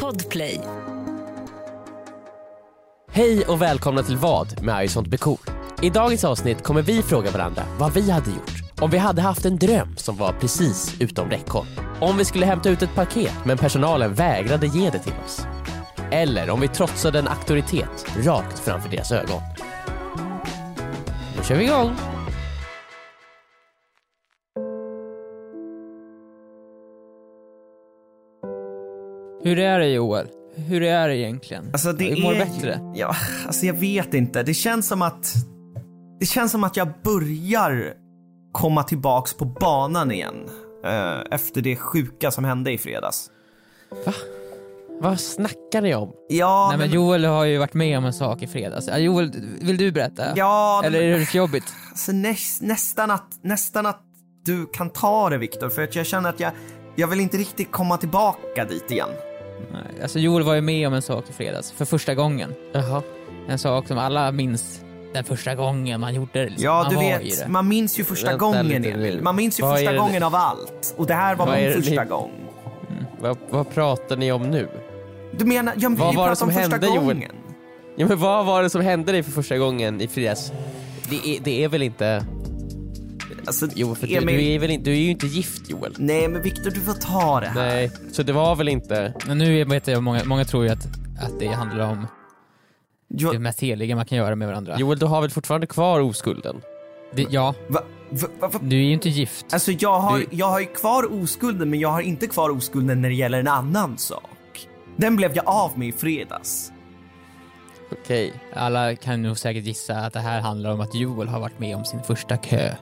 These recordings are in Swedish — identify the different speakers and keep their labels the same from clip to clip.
Speaker 1: Podplay.
Speaker 2: Hej och välkomna till Vad med I sånt blir cool. I dagens avsnitt kommer vi fråga varandra vad vi hade gjort om vi hade haft en dröm som var precis utom räckhåll. Om vi skulle hämta ut ett paket men personalen vägrade ge det till oss. Eller om vi trotsade en auktoritet rakt framför deras ögon. Nu kör vi igång!
Speaker 3: Hur är det Joel? Hur är det egentligen?
Speaker 4: Alltså det
Speaker 3: mår
Speaker 4: är...
Speaker 3: bättre?
Speaker 4: Ja, alltså jag vet inte. Det känns som att... Det känns som att jag börjar komma tillbaks på banan igen. eh, efter det sjuka som hände i fredags.
Speaker 2: Vad snackar ni om?
Speaker 4: Ja,
Speaker 3: Nej men Joel har ju varit med om en sak i fredags. Ja, Joel, vill du berätta?
Speaker 4: ja,
Speaker 3: Eller
Speaker 4: men,
Speaker 3: är det för jobbigt?
Speaker 4: alltså, näs, nästan, att, nästan att du kan ta det Viktor, för att jag känner att jag, jag vill inte riktigt komma tillbaka dit igen.
Speaker 3: Nej, Alltså Joel var ju med om en sak i fredags, för första gången.
Speaker 2: Jaha.
Speaker 3: En sak som alla minns den första gången man gjorde det. Liksom.
Speaker 4: Ja,
Speaker 3: man
Speaker 4: du
Speaker 3: var i
Speaker 4: vet,
Speaker 3: det.
Speaker 4: man minns ju första
Speaker 2: Vänta
Speaker 4: gången
Speaker 2: lite nu.
Speaker 4: Emil. Man minns ju
Speaker 2: Vad är
Speaker 4: första
Speaker 2: det-
Speaker 4: gången av allt. Och det här var
Speaker 2: Vad är
Speaker 4: min
Speaker 2: det ni-
Speaker 4: första gång.
Speaker 2: Vad, vad pratar ni om nu?
Speaker 4: Du menar, ja, men
Speaker 2: Vad
Speaker 4: vi
Speaker 2: var det
Speaker 4: pratar
Speaker 2: som
Speaker 4: om första
Speaker 2: hände, Joel?
Speaker 4: gången.
Speaker 2: Ja, men vad var det som hände dig för första gången i fredags? Det är, det är väl inte...
Speaker 4: Alltså,
Speaker 2: Jo, för du,
Speaker 4: Emil-
Speaker 2: du, är väl inte, du är ju inte gift Joel.
Speaker 4: Nej men Viktor du får ta det här.
Speaker 2: Nej, så det var väl inte...
Speaker 3: Men nu vet jag, många, många tror ju att, att det handlar om
Speaker 4: Jo,
Speaker 3: det mest heliga man kan göra med varandra.
Speaker 2: Joel, du har väl fortfarande kvar oskulden?
Speaker 3: Det, ja,
Speaker 4: va, va, va, va?
Speaker 3: du är ju inte gift.
Speaker 4: Alltså jag har,
Speaker 3: Du-
Speaker 4: jag har ju kvar oskulden men jag har inte kvar oskulden när det gäller en annan sak. Den blev jag av med i fredags.
Speaker 2: Okej.
Speaker 3: Alla kan nog säkert gissa att det här handlar om att Joel har varit med om sin första kö.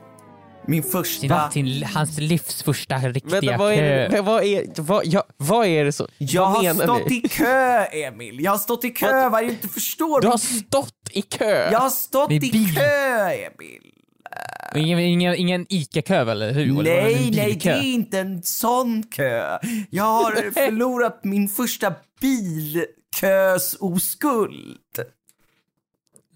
Speaker 4: Min
Speaker 3: Sin,
Speaker 4: första...
Speaker 3: sin, hans livs första riktiga
Speaker 2: Vänta, vad är,
Speaker 3: kö.
Speaker 2: det- vad, är, vad, ja, vad är det så...
Speaker 4: Jag
Speaker 2: vad
Speaker 4: har
Speaker 2: menar
Speaker 4: stått
Speaker 2: ni?
Speaker 4: i kö Emil. Jag har stått i kö vad du inte förstår.
Speaker 2: Du har stått i kö!
Speaker 4: Jag har stått
Speaker 3: Med
Speaker 4: i
Speaker 3: bil.
Speaker 4: kö Emil.
Speaker 3: Och Ingen, ingen, ingen ICA-kö väl, eller hur? Eller var det
Speaker 4: Nej,
Speaker 3: en
Speaker 4: nej det
Speaker 3: bilkö?
Speaker 4: är inte en sån kö. Jag har förlorat min första bilkösoskuld.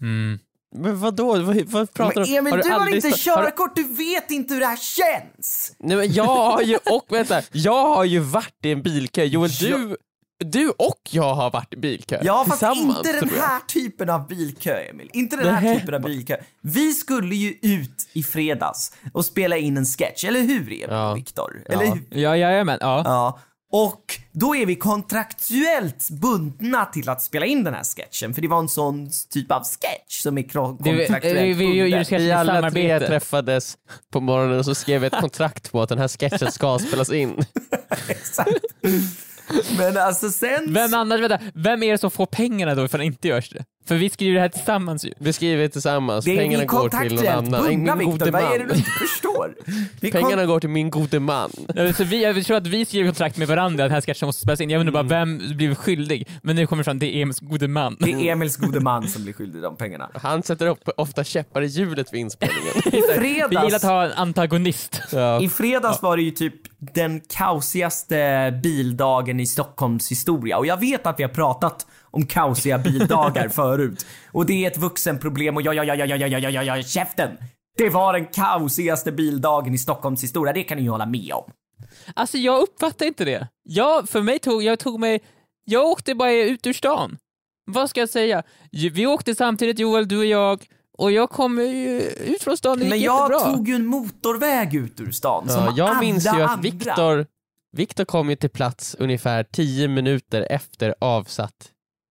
Speaker 3: Mm.
Speaker 2: Men vadå? Vad, vad pratar
Speaker 4: Men
Speaker 2: du om?
Speaker 4: Emil, du har
Speaker 2: aldrig
Speaker 4: inte
Speaker 2: stå- har du-
Speaker 4: körkort, du vet inte hur det här känns!
Speaker 2: Nej, men jag har ju... Och vänta, jag har ju varit i en bilkö. Joel, du... Du och jag har varit i bilkö.
Speaker 4: Ja, fast
Speaker 2: Tillsammans,
Speaker 4: inte den
Speaker 2: tror jag.
Speaker 4: här typen av bilkö, Emil. Inte den här
Speaker 2: Nähä.
Speaker 4: typen av bilkö. Vi skulle ju ut i fredags och spela in en sketch, eller hur Emil?
Speaker 2: Ja.
Speaker 4: Viktor?
Speaker 2: Ja.
Speaker 4: Eller hur?
Speaker 3: Ja, jajamän. Ja.
Speaker 4: Ja. Och då är vi kontraktuellt bundna till att spela in den här sketchen, för det var en sån typ av sketch som är kro-
Speaker 3: Det är- vi-
Speaker 4: kontraktuellt
Speaker 3: vi- vi-
Speaker 4: bunden.
Speaker 3: vi-
Speaker 2: Vi alla tre
Speaker 3: samarbete.
Speaker 2: träffades på morgonen och så skrev vi ett kontrakt på att den här sketchen ska spelas in.
Speaker 4: Exakt. Men alltså sen...
Speaker 3: Vem annars, vänta, vem är det som får pengarna då ifall det inte görs det? För vi skriver det här tillsammans ju.
Speaker 2: Vi skriver tillsammans,
Speaker 4: Det är
Speaker 2: pengarna
Speaker 4: vi
Speaker 2: går till någon
Speaker 4: kontraktuellt
Speaker 2: annan.
Speaker 4: bundna
Speaker 2: min
Speaker 4: Viktor,
Speaker 2: gode
Speaker 4: vad är
Speaker 2: man.
Speaker 4: det du inte förstår? Vi kon-
Speaker 2: Pengarna går till min gode man.
Speaker 3: Ja, Så vi, jag tror att vi skriver kontrakt med varandra att den här sketchen måste spelas in. Jag undrar bara vem blir skyldig? Men nu kommer det fram, det är Emils gode man.
Speaker 4: Mm. Det är Emils gode man som blir skyldig de pengarna.
Speaker 2: Han sätter upp ofta käppar i hjulet vid inspelningen.
Speaker 3: Vi
Speaker 4: I
Speaker 3: gillar
Speaker 4: fredags,
Speaker 3: att ha en antagonist.
Speaker 4: I fredags var det ju typ den kaosigaste bildagen i Stockholms historia och jag vet att vi har pratat om kaosiga bildagar förut och det är ett vuxenproblem och ja, ja, ja, ja, ja, ja, ja, ja, ja, käften! Det var den kaosigaste bildagen i Stockholms historia, det kan ni ju hålla med om.
Speaker 3: Alltså jag uppfattar inte det. Jag, för mig tog, jag tog mig, jag åkte bara ut ur stan. Vad ska jag säga? Ju- Vi åkte samtidigt Joel, du och jag, och jag kom ju ut från stan, det gick
Speaker 4: Men jag
Speaker 3: jättebra.
Speaker 4: tog ju en motorväg ut ur stan som
Speaker 2: Ja, jag
Speaker 4: alla
Speaker 2: minns ju att
Speaker 4: andra.
Speaker 2: Viktor Viktor kom ju till plats ungefär 10 minuter efter avsatt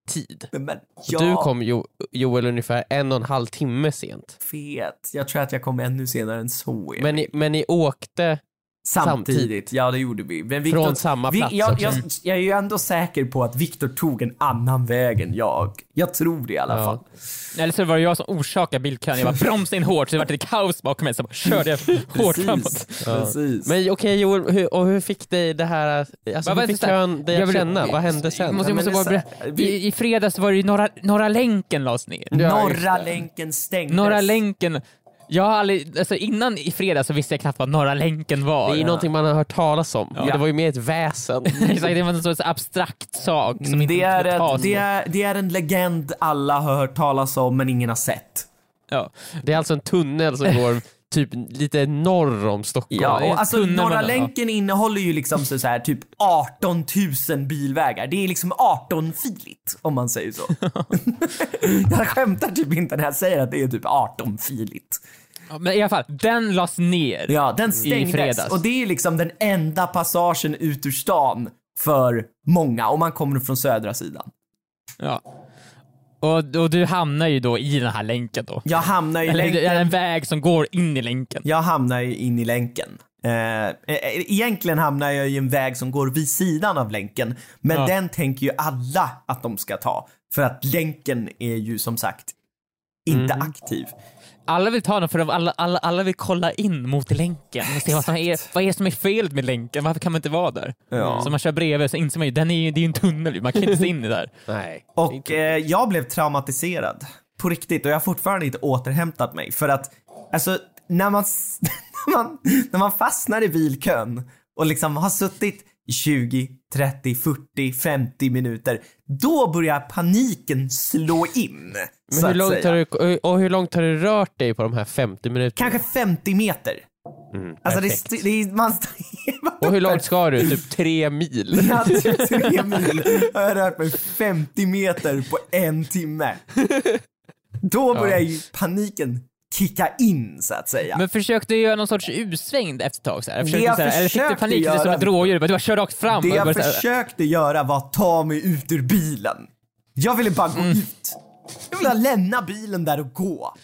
Speaker 2: tid.
Speaker 4: Men
Speaker 2: Och
Speaker 4: jag
Speaker 2: Du kom jo, Joel ungefär en och en halv timme sent.
Speaker 4: vet, jag tror att jag kom ännu senare än så. Emil.
Speaker 2: Men ni, men ni åkte,
Speaker 4: Samtidigt.
Speaker 2: Samtidigt.
Speaker 4: ja det gjorde vi. Men
Speaker 2: Från samma plats
Speaker 4: jag,
Speaker 2: också.
Speaker 4: jag, jag är ju ändå säker på att Viktor tog en annan väg än jag. Jag tror det i alla
Speaker 2: Ja.
Speaker 4: fall.
Speaker 3: Eller så var det jag som orsakade bilkön, jag bara bromsade in hårt så det vart ett kaos bakom mig, så bara körde jag hårt framåt.
Speaker 4: Precis. Precis.
Speaker 2: men okej Joel, hur, och hur fick dig det här, alltså
Speaker 3: var
Speaker 2: hur
Speaker 3: det
Speaker 2: fick
Speaker 3: så här-
Speaker 2: kön dig
Speaker 3: jag
Speaker 2: att
Speaker 3: vill-
Speaker 2: känna? Vad hände
Speaker 3: Jag
Speaker 2: sen?
Speaker 3: måste, jag
Speaker 4: men
Speaker 3: måste bara
Speaker 4: det är så här,
Speaker 3: berätta. I, I fredags var det ju Norra, norra länken lades ner.
Speaker 2: Ja, just
Speaker 4: Norra
Speaker 2: det.
Speaker 4: länken stängdes.
Speaker 3: Norra länken, jag har aldrig, alltså innan i fredags så visste jag knappt vad Norra länken var.
Speaker 2: Det är ju någonting man har hört talas om.
Speaker 4: Ja.
Speaker 2: Det var ju mer ett väsen.
Speaker 3: Exakt, det var en sorts abstrakt sak som inte
Speaker 4: Det är,
Speaker 3: kunde tas
Speaker 4: ett, det, är, det är en legend alla har hört talas om men ingen har sett.
Speaker 3: Ja.
Speaker 2: Det är alltså en tunnel som går typ lite norr om Stockholm.
Speaker 4: Ja,
Speaker 3: det är
Speaker 4: och alltså
Speaker 3: tunnel
Speaker 4: Norra
Speaker 3: mellan-
Speaker 4: länken innehåller ju liksom så så här typ 18 000 bilvägar. Det är liksom 18-filigt om man säger så. jag skämtar typ inte när jag säger att det är typ 18-filigt.
Speaker 3: Ja, Men i alla fall, den lades ner.
Speaker 4: Ja, den
Speaker 3: fredags.
Speaker 4: stängdes och det är liksom den enda passagen ut ur stan för många om man kommer från södra sidan.
Speaker 3: Ja. Och, och du hamnar ju då i den här länken då.
Speaker 4: Jag hamnar i
Speaker 3: Eller det är
Speaker 4: länken.
Speaker 3: en väg som går in i länken.
Speaker 4: Jag hamnar ju in i länken. Eh, e- e- egentligen hamnar jag i en väg som går vid sidan av länken, men
Speaker 3: Ja.
Speaker 4: den tänker ju alla att de ska ta. För att länken är ju som sagt inte
Speaker 3: Mm.
Speaker 4: aktiv.
Speaker 3: Alla vill ta den för de- alla, alla, alla vill kolla in mot länken och se vad som är, vad är det som är fel med länken. Varför kan man inte vara där?
Speaker 4: Ja.
Speaker 3: Så man kör bredvid så inser man ju den är ju, det är ju en tunnel, ju. man kan inte se in i där.
Speaker 2: Nej.
Speaker 4: Och eh, jag blev traumatiserad. På riktigt. Och jag har fortfarande inte återhämtat mig. För att, alltså, när man, s- när man, när man fastnar i bilkön och liksom har suttit i 20, 30, 40, 50 minuter. Då börjar paniken slå in.
Speaker 2: Men
Speaker 4: så
Speaker 2: hur
Speaker 4: att
Speaker 2: långt
Speaker 4: säga.
Speaker 2: har du, och hur långt har du rört dig på de här 50 minuterna?
Speaker 4: Kanske 50 meter.
Speaker 2: Mm,
Speaker 4: Alltså det, är
Speaker 2: perfekt.
Speaker 4: st- det är, man
Speaker 2: Och hur långt ska du? Typ tre mil?
Speaker 4: Jag hade typ tre mil och jag har rört mig 50 meter på en timme. Då börjar ju paniken kicka in så att säga.
Speaker 3: Men försökte du göra någon sorts U-sväng efter ett tag? Så här? Försökte
Speaker 4: jag
Speaker 3: så här eller fick du
Speaker 4: försökte
Speaker 3: panik
Speaker 4: göra-
Speaker 3: som ett rådjur? Bara, Du bara kör rakt fram?
Speaker 4: det
Speaker 3: och bara
Speaker 4: jag
Speaker 3: så här-
Speaker 4: försökte göra var att ta mig ut ur bilen. Jag ville bara gå ut. Jag ville lämna bilen där och gå.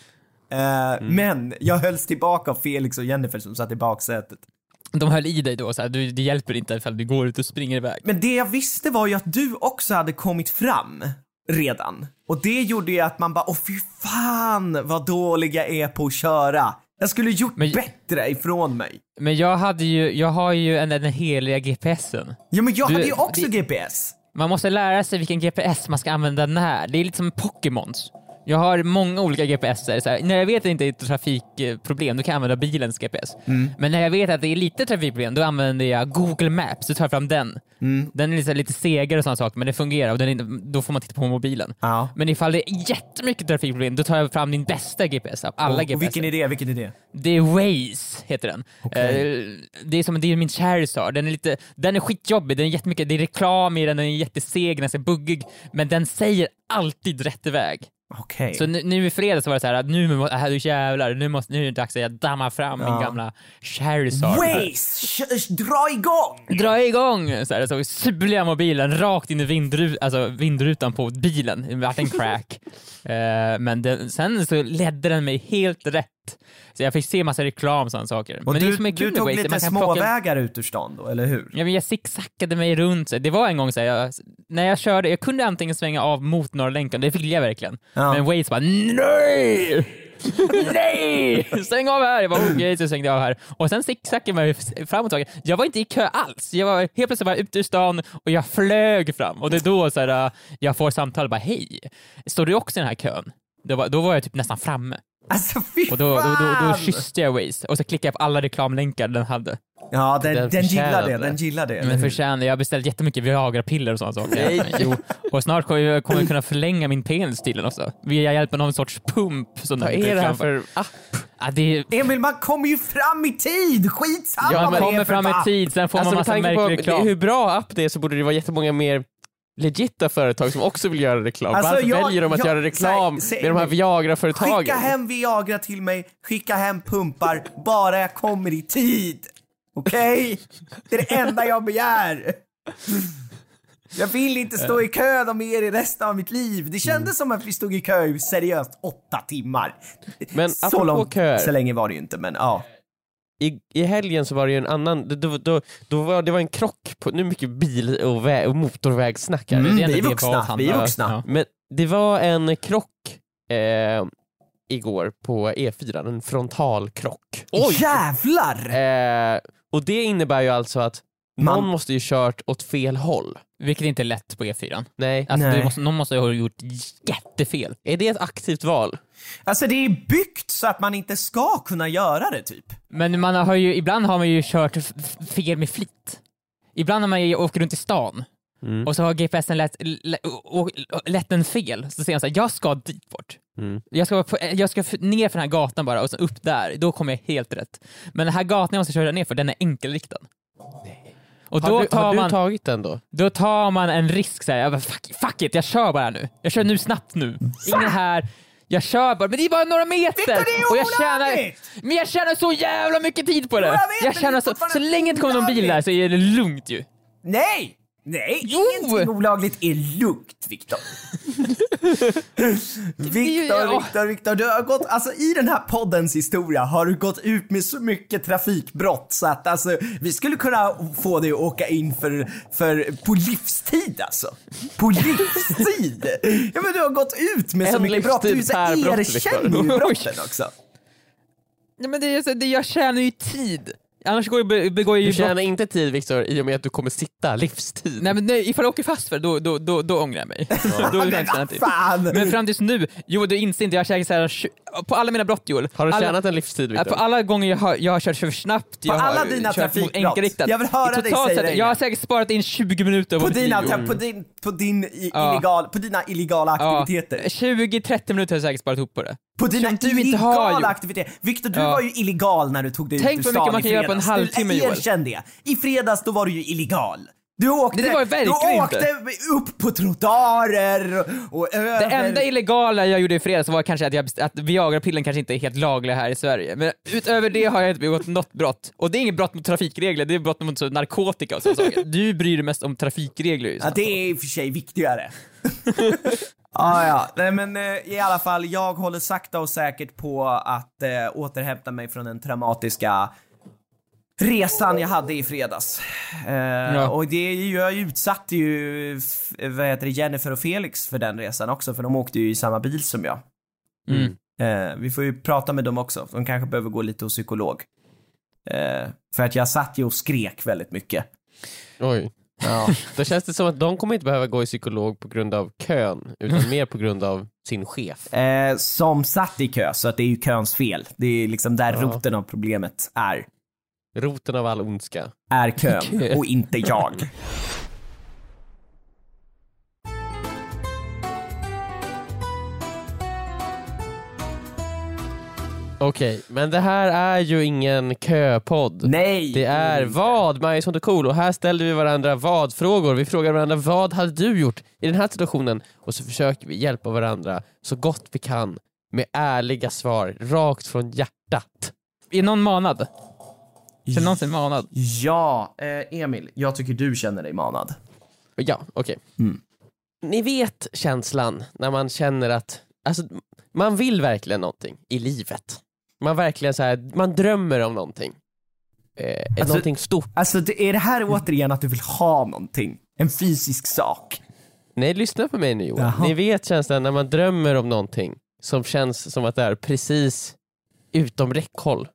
Speaker 4: Eh, Men jag hölls tillbaka av Felix och Jennifer som satt i baksätet.
Speaker 3: De höll i dig då, så här, du, det hjälper inte ifall du går ut och springer iväg.
Speaker 4: Men det jag visste var ju att du också hade kommit fram redan. Och det gjorde ju att man bara, åh fy fan vad dålig jag är på att köra. Jag skulle gjort
Speaker 3: Men-
Speaker 4: bättre ifrån mig.
Speaker 3: Men jag hade ju, jag har ju en, den heliga GPSen.
Speaker 4: Ja men jag
Speaker 3: Du-
Speaker 4: hade ju också
Speaker 3: det-
Speaker 4: GPS.
Speaker 3: Man måste lära sig vilken GPS man ska använda när. Det är lite som Pokémons. Jag har många olika GPSer. Så här, när jag vet att det inte är ett trafikproblem, då kan jag använda bilens GPS.
Speaker 4: Mm.
Speaker 3: Men när jag vet att det är lite trafikproblem, då använder jag Google Maps. Då tar jag fram den.
Speaker 4: Mm.
Speaker 3: Den är liksom lite segare och sådana saker, men det fungerar. Och den är, inte- då får man titta på mobilen.
Speaker 4: Ja.
Speaker 3: Men ifall det är jättemycket trafikproblem, då tar jag fram din bästa GPS av alla
Speaker 4: och, och
Speaker 3: GPS.
Speaker 4: vilken idé, vilken idé.
Speaker 3: Det är Waze, heter den. Eh, Det är som det är min Charizard. Den är, lite, den är skitjobbig, den är jättemycket, det är reklam i den, den är jätteseg, den är så buggig. Men den säger alltid rätt väg.
Speaker 4: Okej.
Speaker 3: Så nu, nu i fredags var det så här att nu, må- äh, du jävlar, nu, måste, nu är det dags att jag dammar fram min gamla Charizard.
Speaker 4: Waze, kö- dra igång!
Speaker 3: Dra igång! Så, här, så sular jag mobilen rakt in i vindru- alltså, vindrutan på bilen. Det vart en crack. Eh, men den, sen så ledde den mig helt rätt. Så jag fick se massa reklam och sådana saker.
Speaker 4: Och
Speaker 3: men det
Speaker 4: du,
Speaker 3: är som är kul
Speaker 4: du
Speaker 3: med
Speaker 4: tog
Speaker 3: Waze,
Speaker 4: lite
Speaker 3: man kan
Speaker 4: småvägar
Speaker 3: plocka-
Speaker 4: ut ur stan då, eller hur?
Speaker 3: Ja, men jag zigzackade mig runt. Så Det var en gång så här, jag, när jag körde, jag kunde antingen svänga av mot Norra länken, det ville jag verkligen.
Speaker 4: Ja.
Speaker 3: Men Waze bara NEJ! Nej! Sväng av här! Jag bara okej, så svängde jag av här. Och sen zigzackade jag mig fram och tillbaka. Jag var inte i kö alls. Jag var helt plötsligt bara ute ur stan och jag flög fram. Och det är då så här, äh, jag får samtal bara hej, står du också i den här kön? Då var, då var jag typ nästan framme.
Speaker 4: Alltså fy
Speaker 3: Och då, då, då, då
Speaker 4: fan!
Speaker 3: kysste jag Waze och så klickade jag på alla reklamlänkar den hade.
Speaker 4: Ja, den, den,
Speaker 2: Den
Speaker 4: gillar det,
Speaker 2: förtjänade.
Speaker 4: den gillar det.
Speaker 3: Den förtjänar, jag har beställt jättemycket Viagra-piller och sådana saker. jo. Och snart kommer jag, kommer jag kunna förlänga min penis tydligen också. Via hjälp av någon sorts pump. Som
Speaker 2: Vad är det här för app?
Speaker 3: Ja, det är,
Speaker 4: Emil, man kommer ju fram i tid! Skitsamma
Speaker 3: ja,
Speaker 4: vad
Speaker 3: man
Speaker 4: det är
Speaker 3: kommer
Speaker 4: för
Speaker 3: fram i
Speaker 4: fan.
Speaker 3: tid, sen får
Speaker 2: Alltså
Speaker 3: man
Speaker 2: med
Speaker 3: massa
Speaker 2: tanke på
Speaker 3: märklig reklam.
Speaker 2: hur Mm, bra app det är så borde det vara jättemånga mer legitta företag som också vill göra reklam.
Speaker 4: Alltså,
Speaker 2: Varför
Speaker 4: jag-
Speaker 2: väljer de att
Speaker 4: jag-
Speaker 2: göra reklam
Speaker 4: säg- säg
Speaker 2: med de här
Speaker 4: mig.
Speaker 2: Viagra-företagen?
Speaker 4: Skicka hem Viagra till mig, skicka hem pumpar, bara jag kommer i tid. Okej? Det är det enda jag begär. Jag vill inte stå i kö om er i resten av mitt liv. Det
Speaker 2: Mm.
Speaker 4: kändes som att vi stod i kö i seriöst åtta timmar.
Speaker 2: Men
Speaker 4: så
Speaker 2: apropå
Speaker 4: långt,
Speaker 2: köer.
Speaker 4: så länge var det ju inte, men ja.
Speaker 2: I, I helgen så var det ju en annan, då, då, då, då var, det var en krock på, nu är det mycket bil och, vä- och motorvägsnack här.
Speaker 4: Mm,
Speaker 3: det är
Speaker 4: vi
Speaker 3: ändå
Speaker 4: är
Speaker 3: det vad
Speaker 4: vuxna,
Speaker 3: han-
Speaker 4: vi är
Speaker 3: ja,
Speaker 4: vuxna.
Speaker 3: ja.
Speaker 2: Men det var en krock eh, igår på E4, en frontalkrock.
Speaker 4: Jävlar!
Speaker 2: Eh, och det innebär ju alltså att
Speaker 4: Man-
Speaker 2: någon måste ju kört åt fel håll.
Speaker 3: Vilket inte är lätt på E4.
Speaker 2: Nej.
Speaker 3: Alltså,
Speaker 4: Nej.
Speaker 3: du måste, någon måste ha gjort jättefel.
Speaker 2: Är det ett aktivt val?
Speaker 4: Alltså det är byggt så att man inte ska kunna göra det typ.
Speaker 3: Men man har ju, ibland har man ju kört f- f- fel med flit. Ibland när man ju- åker runt i stan
Speaker 2: Mm.
Speaker 3: och så har GPSen lätt, lä- och- och- lätt en fel, så säger han så här, jag ska dit bort.
Speaker 2: Mm.
Speaker 3: Jag, ska, på- jag ska f- ner för den här gatan bara och sen upp där, då kommer jag helt rätt. Men den här gatan jag måste köra ner för den är enkelriktad. Och då
Speaker 2: Har, du,
Speaker 3: tar
Speaker 2: har
Speaker 3: man...
Speaker 2: du tagit den då?
Speaker 3: Då tar man en risk såhär, jag bara, fuck, fuck it, jag kör bara nu. Jag kör nu snabbt nu. Ingen här. Jag kör bara, men det är bara några meter!
Speaker 4: Victor, det är
Speaker 3: och jag tjänar,
Speaker 4: olagligt!
Speaker 3: men jag tjänar så jävla mycket tid på det!
Speaker 4: jag vet, men det
Speaker 3: tjänar
Speaker 4: är
Speaker 3: så, så
Speaker 4: fortfarande
Speaker 3: länge det kommer någon bil där så är det lugnt ju.
Speaker 4: Nej! Nej, ingenting olagligt är lugnt, Viktor. Viktor, Viktor, Viktor, du har gått, alltså i den här poddens historia har du gått ut med så mycket trafikbrott så att alltså vi skulle kunna få dig att åka in för, för på livstid alltså. På livstid! Ja men du har gått ut med så
Speaker 2: En
Speaker 4: mycket brott, du
Speaker 2: livstid
Speaker 4: så här
Speaker 2: per brott,
Speaker 4: erkänner
Speaker 2: Viktor.
Speaker 4: ju brotten också.
Speaker 3: Nej, men det är, så- det, jag tjänar ju tid. Annars går jag, be- begår jag
Speaker 2: Du
Speaker 3: ju brott.
Speaker 2: tjänar inte tid Viktor i och med att du kommer sitta livstid.
Speaker 3: Nej men nej, ifall jag åker fast för det, då, då, då, då ångrar jag mig. då vill jag inte tjäna
Speaker 4: Men
Speaker 3: tid.
Speaker 4: fan!
Speaker 3: Men fram tills nu, jo du inser inte, jag har tjänat så här, tju- på alla mina brott Joel.
Speaker 2: Har du
Speaker 3: alla,
Speaker 2: tjänat en livstid
Speaker 3: Ja,
Speaker 2: Viktor?
Speaker 3: På alla gånger jag har, jag har kört för snabbt, jag
Speaker 4: alla
Speaker 3: har
Speaker 4: dina
Speaker 3: kört
Speaker 4: trafikbrott.
Speaker 3: mot enkelriktat.
Speaker 4: Jag vill höra
Speaker 3: I
Speaker 4: dig
Speaker 3: totalt
Speaker 4: säga
Speaker 3: sett,
Speaker 4: det
Speaker 3: Jag har
Speaker 4: igen.
Speaker 3: säkert sparat in 20 minuter av
Speaker 4: På
Speaker 3: mitt
Speaker 4: dina,
Speaker 3: liv.
Speaker 4: på din, på din i,
Speaker 3: Ja.
Speaker 4: illegal, på dina illegala
Speaker 3: Ja,
Speaker 4: aktiviteter.
Speaker 3: 20-30 minuter har jag säkert sparat ihop på det.
Speaker 4: På dina
Speaker 3: Som du inte har gjort.
Speaker 4: illegala aktiviteter. Viktor, du
Speaker 3: Ja.
Speaker 4: var ju illegal när du tog dig
Speaker 3: Tänk
Speaker 4: ut
Speaker 3: vad
Speaker 4: ur
Speaker 3: mycket
Speaker 4: stan
Speaker 3: man
Speaker 4: i
Speaker 3: kan göra på en
Speaker 4: fredags. Du-
Speaker 3: halvtimme, Joel.
Speaker 4: Erkänn det. I fredags då var du ju illegal. Du åkte,
Speaker 3: Nej, det var jag
Speaker 4: du
Speaker 3: verkligen
Speaker 4: åkte upp på trottoarer och över.
Speaker 3: Det enda illegala jag gjorde i fredags var kanske att, jag, best- att Viagra-pillen kanske inte är helt lagliga här i Sverige. Men utöver det har jag inte begått något brott. Och det är inget brott mot trafikregler, det är brott mot så, narkotika och sådana saker. Du bryr dig mest om trafikregler ju.
Speaker 4: Ja, det är i och för sig viktigare. ah, ja, nej men eh, i alla fall, jag håller sakta och säkert på att eh, återhämta mig från den traumatiska resan jag hade i fredags. Eh, Och det gör ju utsatte ju, f- vad heter det, Jennifer och Felix för den resan också, för de åkte ju i samma bil som jag.
Speaker 3: Mm.
Speaker 4: Eh, vi får ju prata med dem också, de kanske behöver gå lite hos psykolog. Eh, för att jag satt ju och skrek väldigt mycket.
Speaker 2: Oj.
Speaker 4: Ja.
Speaker 2: Då känns det som att de kommer inte behöva gå i psykolog på grund av kön, utan mer på grund av sin chef.
Speaker 4: Eh, som satt i kö, så att det är ju köns fel. Det är liksom där roten av problemet är.
Speaker 2: Roten av all ondska.
Speaker 4: Är kön och inte jag.
Speaker 2: Okej, men det här är ju ingen köpodd.
Speaker 4: Nej!
Speaker 2: Det är vad, Maja Sunt och Cool, och här ställer vi varandra vad-frågor. Vi frågar varandra vad hade du gjort i den här situationen? Och så försöker vi hjälpa varandra så gott vi kan med ärliga svar rakt från hjärtat.
Speaker 3: Är någon manad? Känner någon sig manad?
Speaker 4: Ja, eh, Emil, jag tycker du känner dig manad.
Speaker 2: Ja, okej.
Speaker 4: Mm.
Speaker 2: Ni vet känslan när man känner att alltså, man vill verkligen någonting i livet. Man verkligen så här, man drömmer om någonting. Eh, någonting stort.
Speaker 4: Alltså, det, är det här återigen att du vill ha någonting? En fysisk sak?
Speaker 2: Nej, lyssna på mig nu Johan.
Speaker 4: Jaha.
Speaker 2: Ni vet känslan när man drömmer om någonting som känns som att det är precis utom räckhåll.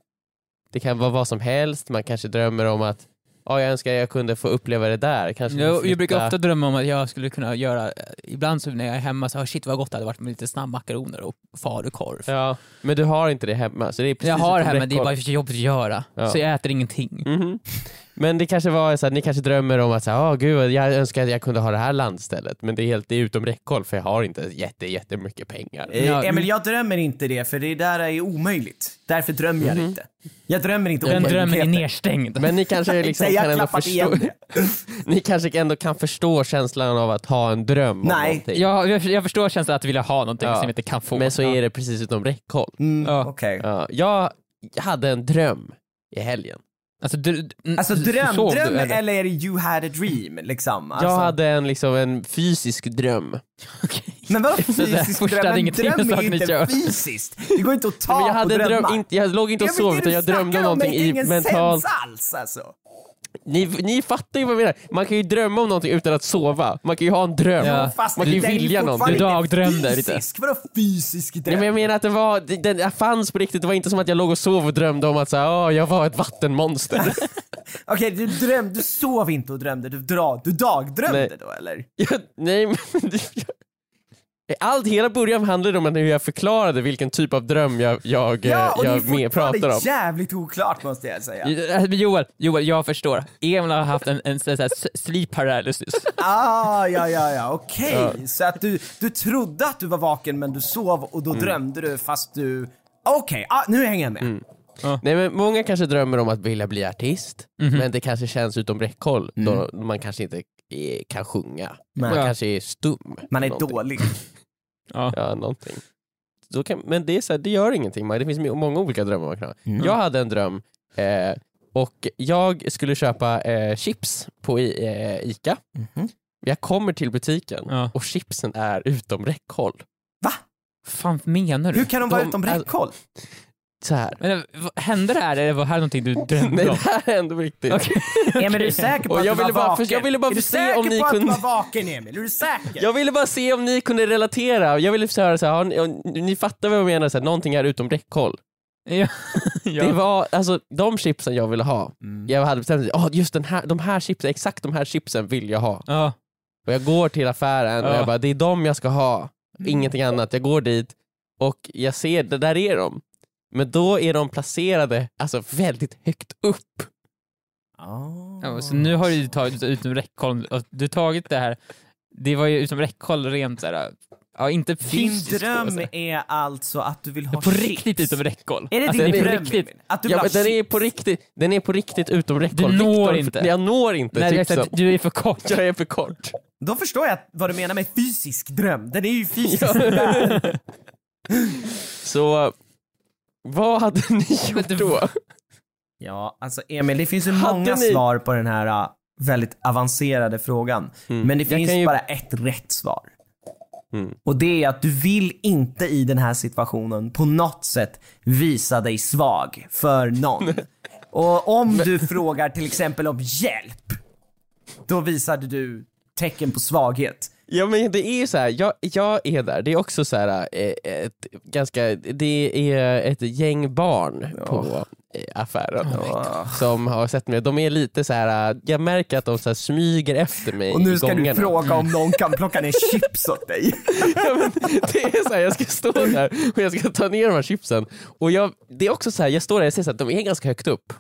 Speaker 2: Det kan vara vad som helst, man kanske drömmer om att ja, jag önskar jag kunde få uppleva det där. Kanske få
Speaker 3: Jag,
Speaker 2: flytta-
Speaker 3: jag brukar ofta drömma om att jag skulle kunna göra, ibland så när jag är hemma så, oh, shit vad gott det hade varit med lite snabbmakaroner och falukorv.
Speaker 2: Ja, men du har inte det hemma. Så det är precis
Speaker 3: jag har det
Speaker 2: utom
Speaker 3: här men det är
Speaker 2: räckhåll.
Speaker 3: bara för jobbigt att göra,
Speaker 2: Ja.
Speaker 3: så jag äter ingenting.
Speaker 2: Mhm. Men det kanske var så här, ni kanske drömmer om att så här, "Ah, gud, jag önskar att jag kunde ha det här landstället, men det är helt det är utom räckhåll för jag har inte jätte, jättemycket pengar.
Speaker 4: Eh,
Speaker 3: Ja,
Speaker 4: Emil,
Speaker 3: du-
Speaker 4: jag drömmer inte det, för det där är omöjligt. Därför drömmer jag inte. Jag drömmer inte om
Speaker 3: Den drömmen är
Speaker 4: möjligheter.
Speaker 3: nedstängd.
Speaker 2: Men ni kanske liksom
Speaker 4: Nej, jag
Speaker 2: kan
Speaker 4: har
Speaker 2: ändå
Speaker 4: klappat
Speaker 2: förstå,
Speaker 4: igen det.
Speaker 2: ni kanske ändå kan förstå känslan av att ha en dröm om
Speaker 4: Nej.
Speaker 2: någonting.
Speaker 3: jag, jag, jag förstår känslan att vilja ha någonting
Speaker 2: Ja.
Speaker 3: som jag inte kan få.
Speaker 2: Men så är det precis utom räckhåll.
Speaker 4: Mm,
Speaker 3: Ja.
Speaker 4: Okej.
Speaker 2: Ja, jag hade en dröm i helgen.
Speaker 3: Alltså, du, n-
Speaker 4: Alltså
Speaker 3: s-
Speaker 4: dröm,
Speaker 3: sov du,
Speaker 4: dröm
Speaker 3: eller?
Speaker 4: eller är det you had a dream liksom? Alltså,
Speaker 2: Jag hade en, liksom, en fysisk dröm.
Speaker 4: Men vadå
Speaker 2: Alltså,
Speaker 3: där
Speaker 4: fysisk
Speaker 3: första hade
Speaker 4: dröm? En
Speaker 3: ingenting med
Speaker 4: dröm är
Speaker 3: saken att
Speaker 4: inte
Speaker 3: göra.
Speaker 4: fysiskt. Det går inte att ta
Speaker 2: Men jag,
Speaker 4: på
Speaker 2: hade en dröm,
Speaker 4: drömmar.
Speaker 2: inte, jag låg inte och
Speaker 4: Ja, men
Speaker 2: sov
Speaker 4: det
Speaker 2: utan
Speaker 4: du
Speaker 2: jag drömde
Speaker 4: snackar
Speaker 2: om någonting
Speaker 4: make
Speaker 2: i
Speaker 4: ingen
Speaker 2: mentalt
Speaker 4: sense alls alltså.
Speaker 2: Ni, ni fattar ju vad jag menar. Man kan ju drömma om någonting utan att sova. Man kan ju ha en dröm.
Speaker 3: Ja.
Speaker 4: Fast
Speaker 2: Man kan ju
Speaker 4: det är
Speaker 2: vilja någonting.
Speaker 4: fortfarande
Speaker 3: Du
Speaker 4: inte
Speaker 3: dagdrömde lite.
Speaker 4: Fysisk? Vadå fysisk dröm?
Speaker 2: Nej, men jag menar att det var, det- den jag fanns på riktigt. Det var inte som att jag låg och sov och drömde om att så här, "Åh, jag var ett vattenmonster.
Speaker 4: Okej, du drömde, du sov inte och drömde, du, dra, du dagdrömde
Speaker 2: Nej.
Speaker 4: då eller?
Speaker 2: jag, nej, men, Allt, hela början handlade om hur jag förklarade vilken typ av dröm jag, jag,
Speaker 4: Ja, och
Speaker 2: eh,
Speaker 4: det är
Speaker 2: jag med pratar
Speaker 4: fortfarande
Speaker 2: om.
Speaker 4: jävligt oklart måste jag säga.
Speaker 3: Eh, Joel, Joel, jag förstår. Emil har haft en, en sån här s- sleep paralysis.
Speaker 4: Ah, ja, ja, ja, okej. Så att du, du trodde att du var vaken men du sov och
Speaker 2: Mm.
Speaker 4: då drömde du fast du... Okej, ah, nu hänger jag med.
Speaker 2: Nej, men många kanske drömmer om att vilja bli artist,
Speaker 4: Mhm.
Speaker 2: men det kanske känns utom räckhåll då
Speaker 4: Mm.
Speaker 2: man kanske inte eh, kan sjunga.
Speaker 4: Nej.
Speaker 2: Man
Speaker 3: Ja.
Speaker 2: kanske är stum.
Speaker 4: Man är
Speaker 2: Någonting.
Speaker 4: dålig.
Speaker 2: Ja, någonting. Då kan, men det, är så här, det gör ingenting, Maja. det finns många olika drömmar man kan ha.
Speaker 3: Mm.
Speaker 2: Jag hade en dröm eh, och jag skulle köpa eh, chips på I, eh, ICA.
Speaker 4: Mhm.
Speaker 2: Jag kommer till butiken
Speaker 3: Ja.
Speaker 2: och chipsen är utom räckhåll.
Speaker 4: Va?
Speaker 3: fan menar
Speaker 4: Hur
Speaker 3: du?
Speaker 4: kan de vara
Speaker 2: De-
Speaker 4: utom räckhåll?
Speaker 2: Så här.
Speaker 3: Men, eh, vad- hände det här eller var det här någonting du
Speaker 2: Nej,
Speaker 3: drömde
Speaker 2: det
Speaker 3: om?
Speaker 2: här är ändå riktigt.
Speaker 3: Okej.
Speaker 4: Emil, är du säker på
Speaker 2: Och
Speaker 4: att
Speaker 2: jag
Speaker 4: du var
Speaker 2: ville bara-
Speaker 4: vaken?
Speaker 2: jag ville bara
Speaker 4: är du
Speaker 2: se om ni
Speaker 4: säker på
Speaker 2: kunde-
Speaker 4: att du var vaken, Emil? Är du säker?
Speaker 2: Jag ville bara se om ni kunde relatera. Jag ville säga så här, har ni, om- ni fattar vad jag menar, så här, någonting är utom räckhåll.
Speaker 3: Ja. Ja. Mm.
Speaker 2: Det var, alltså, de chipsen jag ville ha, jag hade bestämt mig, oh, just den här, de här chipsen, exakt de här chipsen vill jag ha.
Speaker 3: Ja.
Speaker 2: Och jag går till affären och
Speaker 3: Ja. Mm.
Speaker 2: jag bara, det är de jag ska ha, ingenting annat. Jag går dit och jag ser, det där är de. Men då är de placerade alltså väldigt högt upp.
Speaker 4: Ah.
Speaker 3: Ja, så nu har du ju tagit utom räckhåll, och du har tagit det här, det var ju utom räckhåll rent såhär, ja inte
Speaker 4: Din
Speaker 3: fysiskt. då,
Speaker 4: dröm
Speaker 3: så här.
Speaker 4: är alltså att du vill ha
Speaker 3: på
Speaker 4: chips.
Speaker 3: riktigt utom räckhåll.
Speaker 4: Är det
Speaker 3: Alltså,
Speaker 4: din
Speaker 3: den är på
Speaker 4: dröm,
Speaker 3: riktigt.
Speaker 4: Emil? Att du vill
Speaker 2: Ja,
Speaker 4: ha
Speaker 2: men den, är
Speaker 4: chips?
Speaker 2: på riktigt, den är på riktigt utom räckhåll.
Speaker 3: Du når
Speaker 2: Viktor-
Speaker 3: inte.
Speaker 2: Jag når inte typ
Speaker 3: Nej, det är typ
Speaker 2: chipsen.
Speaker 3: exakt, du är för kort.
Speaker 2: Jag är för kort.
Speaker 4: Då förstår jag vad du menar med fysisk dröm. Den är ju fysisk.
Speaker 2: Så vad hade ni gjort
Speaker 3: det-
Speaker 2: då?
Speaker 4: Ja, alltså Emil, det finns ju
Speaker 2: Hade
Speaker 4: många
Speaker 2: ni-
Speaker 4: svar på den här äh, väldigt avancerade frågan. Men det
Speaker 2: Jag
Speaker 4: finns
Speaker 2: kan ju-
Speaker 4: bara ett rätt svar.
Speaker 2: Mm.
Speaker 4: Och det är att du vill inte i den här situationen på något sätt visa dig svag för någon. Och om du frågar till exempel om hjälp, då visade du tecken på svaghet.
Speaker 2: Ja men det är ju så här, jag, jag är där, det är också så här, eh, ett, ganska, det är ett gäng barn på eh, affären som har sett mig, de är lite så här. eh, jag märker att de så här smyger efter mig
Speaker 4: Och nu
Speaker 2: i
Speaker 4: ska
Speaker 2: gångarna.
Speaker 4: du fråga om någon kan plocka ner chips åt dig.
Speaker 2: Ja, men det är så här, jag ska stå där och jag ska ta ner de här chipsen. Och jag, det är också så här, jag står där och ser så att de är ganska högt upp.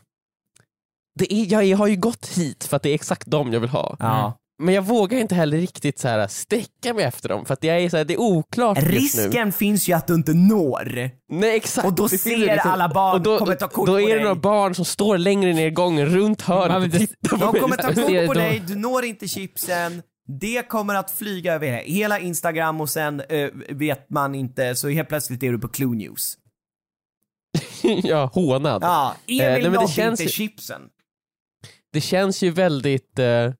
Speaker 2: Det är, jag, jag har ju gått hit för att det är exakt dem jag vill ha.
Speaker 4: Ja.
Speaker 2: Men jag vågar inte heller riktigt så här, sträcka mig efter dem för att jag är så här, det är oklart just nu.
Speaker 4: Risken finns ju att du inte når.
Speaker 2: Nej, exakt,
Speaker 4: Och då
Speaker 2: Det finns
Speaker 4: ser
Speaker 2: ju liksom-
Speaker 4: alla barn,
Speaker 2: och då,
Speaker 4: kommer ta kort
Speaker 2: Då
Speaker 4: på
Speaker 2: är det
Speaker 4: dig.
Speaker 2: några barn som står längre ner i gången runt
Speaker 3: Ja,
Speaker 2: hörnet
Speaker 3: men
Speaker 2: och
Speaker 3: det-
Speaker 2: tittar på
Speaker 4: De
Speaker 2: mig.
Speaker 4: kommer ta
Speaker 3: Jag ser
Speaker 4: kort på
Speaker 3: de-
Speaker 4: dig, du når inte chipsen. Det kommer att flyga över hela Instagram och sen eh, vet man inte, så helt plötsligt är du på Clue News.
Speaker 2: ja, hånad.
Speaker 4: Ja,
Speaker 2: Eh, nej,
Speaker 4: Emil
Speaker 2: men det
Speaker 4: nådde
Speaker 2: känns-
Speaker 4: inte chipsen.
Speaker 2: Det känns ju väldigt eh,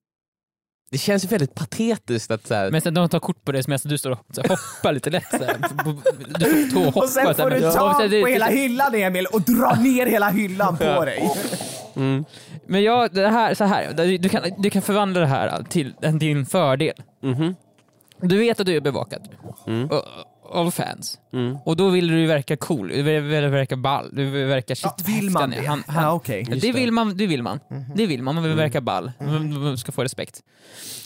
Speaker 2: det känns ju väldigt patetiskt att så här,
Speaker 3: Men sen de tar kort på det som jag så du står och så här, hoppar lite lätt såhär. Du står och hoppar.
Speaker 4: Och sen
Speaker 3: så här,
Speaker 4: får du
Speaker 3: men- och
Speaker 4: tag
Speaker 3: sen- det-
Speaker 4: på
Speaker 3: det-
Speaker 4: hela hyllan Emil och dra ner hela hyllan på dig.
Speaker 3: Men jag, det här, så här, du- du kan, du kan förvandla det här till en- din fördel. Du vet att du är bevakad Och- av fans. Och då vill du ju verka cool, du vill, vill verka ball, du vill verka shit.
Speaker 4: Ja, vill man
Speaker 3: häftig
Speaker 4: det?
Speaker 3: han är. Han, han,
Speaker 4: Ja, okej.
Speaker 3: det, vill man, det vill man. Det vill man, man vill verka ball. Man man ska få respekt.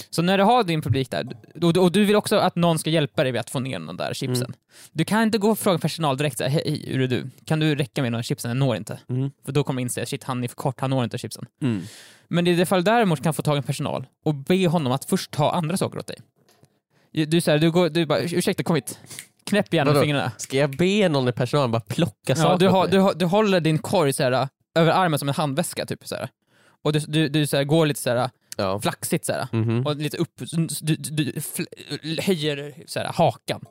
Speaker 3: Så när du har din publik där, och du, och du vill också att någon ska hjälpa dig med att få ner de där chipsen. Du kan inte gå och fråga personal direkt såhär, hej hur är du? Kan du räcka med de här chipsen? Jag når inte. För då kommer man inse, shit han är för kort, han når inte chipsen. Men i det fall däremot kan få tag i en personal och be honom att först ta andra saker åt dig. Du säger, du, går, du bara, ursäkta kom hit. Knäpp gärna
Speaker 2: Vadå?
Speaker 3: med fingrarna.
Speaker 2: Ska jag be någon i personalen bara plocka saker
Speaker 3: Ja, Alltså, du,
Speaker 2: åt
Speaker 3: har,
Speaker 2: mig?
Speaker 3: du, har, du håller din korg så här, över armen som en handväska typ. Så här. Och du, du, du så här, går lite så här,
Speaker 2: Ja.
Speaker 3: flaxigt så här. och lite upp, du, du, du fl- höjer så här, hakan.